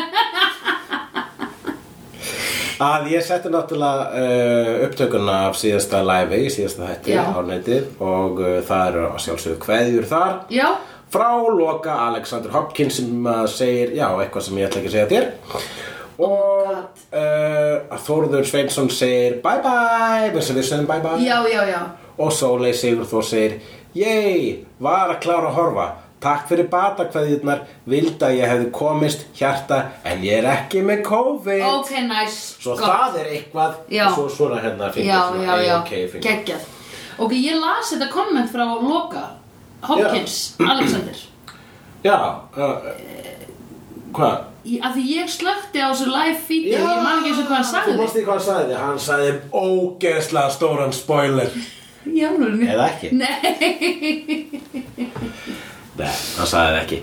S2: Að ég setti náttúrulega uh, upptökuna af síðasta live í síðasta hætti
S1: Já.
S2: á netið og uh, það eru að sjálfsögðu kveðjur þar
S1: Já,
S2: frá loka Alexander Hopkins sem að segir, já, eitthvað sem ég ætla ekki að segja þér og
S1: God.
S2: uh, Þórður Sveinsson segir bye bye, þess að við segjum bye bye
S1: já, já, já
S2: og Sólei Sigur Þór segir yey, var að klára að horfa takk fyrir batakveðjurnar vildi að ég hefði komist hjarta en ég er ekki með COVID
S1: Ok, nice
S2: svo
S1: gott.
S2: það er eitthvað
S1: Oh, Já.
S2: svo svona hérna fingir,
S1: já,
S2: svona
S1: já, já,
S2: AOK fingur.
S1: geggjað ok, ég las þetta komment frá Loka Hopkins, Alexander
S2: já uh, hvað?
S1: Í- af því ég slökti á þessu live feed og ég man ekki eins og hvað hann
S2: Þú
S1: sagði
S2: mást ekki hvað hann sagði, hann sagði ógeðslega stóran spoiler
S1: já, alveg
S2: Eða ekki.
S1: nei,
S2: Nei, hann sagði það ekki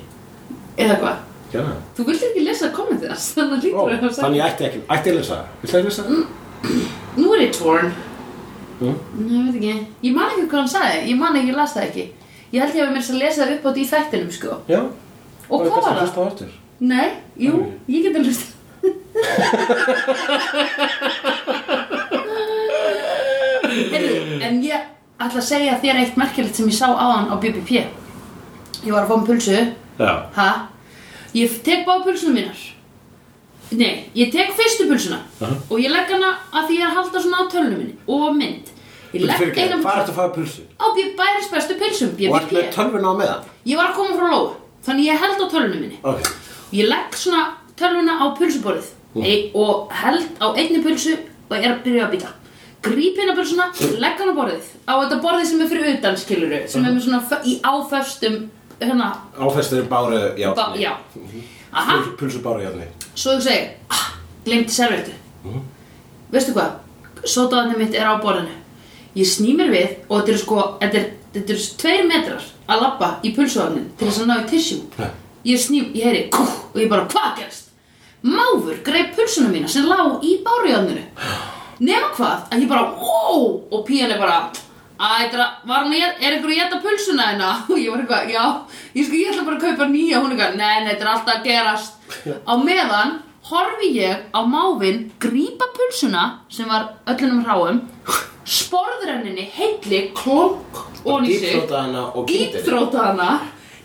S1: eða hvað
S2: Já
S1: þú vildi ekki lesa kommentið þess þannig að Mm.
S2: Ó,
S1: lítur að hafa sagt
S2: Þannig ég ætti ekki, ætti að lesa það Viltu að lesa það?
S1: nú er ég torn
S2: Mm.
S1: nei, ég veit ekki, ég man ekki hvað hann sagði ég man ekki, ég las það ekki ég held ég að mér að lesa það upp á því þættinum sko
S2: Já
S1: og hvað var það?
S2: Það er það
S1: Nei, jú, ég get að hlusta Heyrðu, en ég ætla að segja þér eitt merkilegt sem ég sá áðan á BBP Ég var að fá um pulsu
S2: Já
S1: Ha? Ég tek bá pulsuna mínar Nei, ég tek fyrstu pulsuna
S2: Aha.
S1: Og ég legg hana að því ég er að halda svona á tölunum minni Og mynd Ég legg
S2: Fyrirgeðu,
S1: eina
S2: Hvað er þetta að fara pulsu?
S1: Á bæris bestu pulsum,
S2: Og ert með
S1: BBP
S2: tölvuna á meðan?
S1: Ég var að koma frá Lóa Þannig ég held á tölunum minni
S2: Ok
S1: Ég legg svona tölvuna á pulsuborðið e og held á einni pulsu og er að byrja að býta. Gríp hérna pulsuna, legg hann á borðið. Á þetta borðið sem er fyrir utan, skiluru, sem er með svona fö- í áföstum, hérna,
S2: Áfestur báru
S1: bá,
S2: játni
S1: já. Aha,
S2: Pulsu báru játni
S1: svo þú segir, ah, glemti servetu. Veistu hvað, sótaðanir mitt er á borðinu. Ég sný mér við og þetta eru sko, þetta er- þetta eru tveir metrar að labba í pulsuafnin til þess að ná í tissjú ég sný, ég heyri kú, og ég bara, hvað gerst? Máfur greip pulsuna mína sem lá í bárujárninu nema hvað, að ég bara, wow og pían er bara, að þetta var hún, er einhver að geta pulsuna hérna og ég var eitthvað, já, ég sko, ég ætla bara að kaupa nýja, hún eitthvað, nei, nei, þetta er alltaf að gerast á meðan horfi ég á máfin grípa pulsuna sem var öllunum hráum sporðrenninni heilli klonk ofan í sig
S2: Dýpþróta hana og kýtir
S1: dýpþróta hana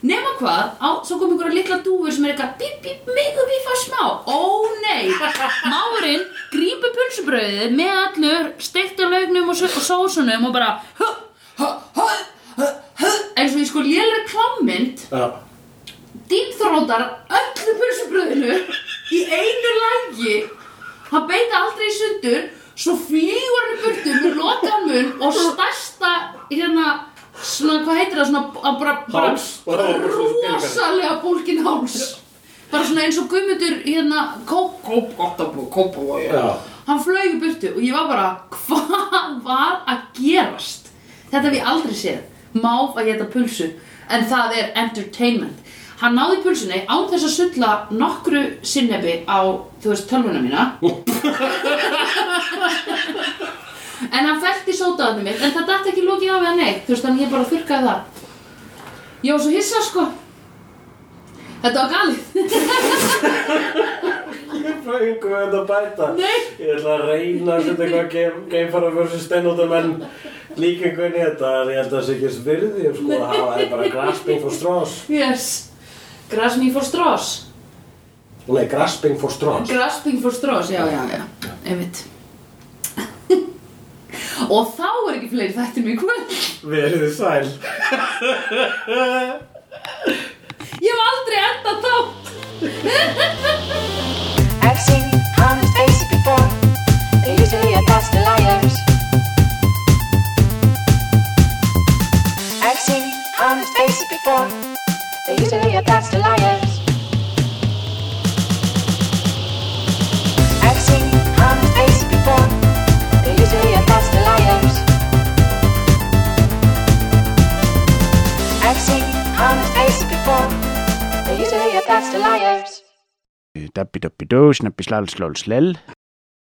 S1: nema hvað, á, svo kom einhverja litla dúfur sem er eitthvað bíp, bíp, megu bífa smá ó nei, máurinn grípur pulsubröðið með allur steikta laugnum og, sö- og sósunum og bara hö, hö, hö, hö, hö, eins og ég sko lélega klámynd
S2: Já
S1: dýpþrótar öllu pulsubröðinu í einu lagi hann beita aldrei í sundur svo flýgur hann í burtu með lokaðan mun og stærsta hérna svona hvað heitir það svona að bara,
S2: Háls.
S1: bara rosalega bólkin háls bara svona eins og guðmundur hérna kóp, kóp, gottabú, kóp
S2: Já.
S1: hann flög í burtu og ég var bara hvað var að gerast þetta hef ég aldrei séð máf að geta pulsu en það er entertainment hann náði pulsunni án þess að sulla nokkru sinnebi á þú veist tölvuna mína en hann fælt í sótaðanum mitt en það dætti ekki lokið af eða neitt þú veist þannig ég bara þurrkaði það ég var svo hissa sko þetta var galið
S2: Ég frá yngu með þetta bæta
S1: Nei.
S2: Ég ætla að reyna að setja eitthvað geimfara versus steinóta menn líkingunni þetta en ég held að það sé ekki þess virði sko, að hafa það bara grasping for straws
S1: yes Grasmi for straws
S2: Nei, grasping for straws
S1: Grasping for straws, já, já, já, einmitt Og þá er ekki fleiri þættir mig kvöld.
S2: Verið sæl.
S1: Ég hef aldrei enda þátt.
S4: I've seen honest faces before. They usually are the liars. I've seen honest faces before. They usually are the liars. I've seen honest faces before. They usually are the liars. I've seen honest faces before. They usually are the liars.
S5: Dabbi dabbi do, snabbi slal slal slel.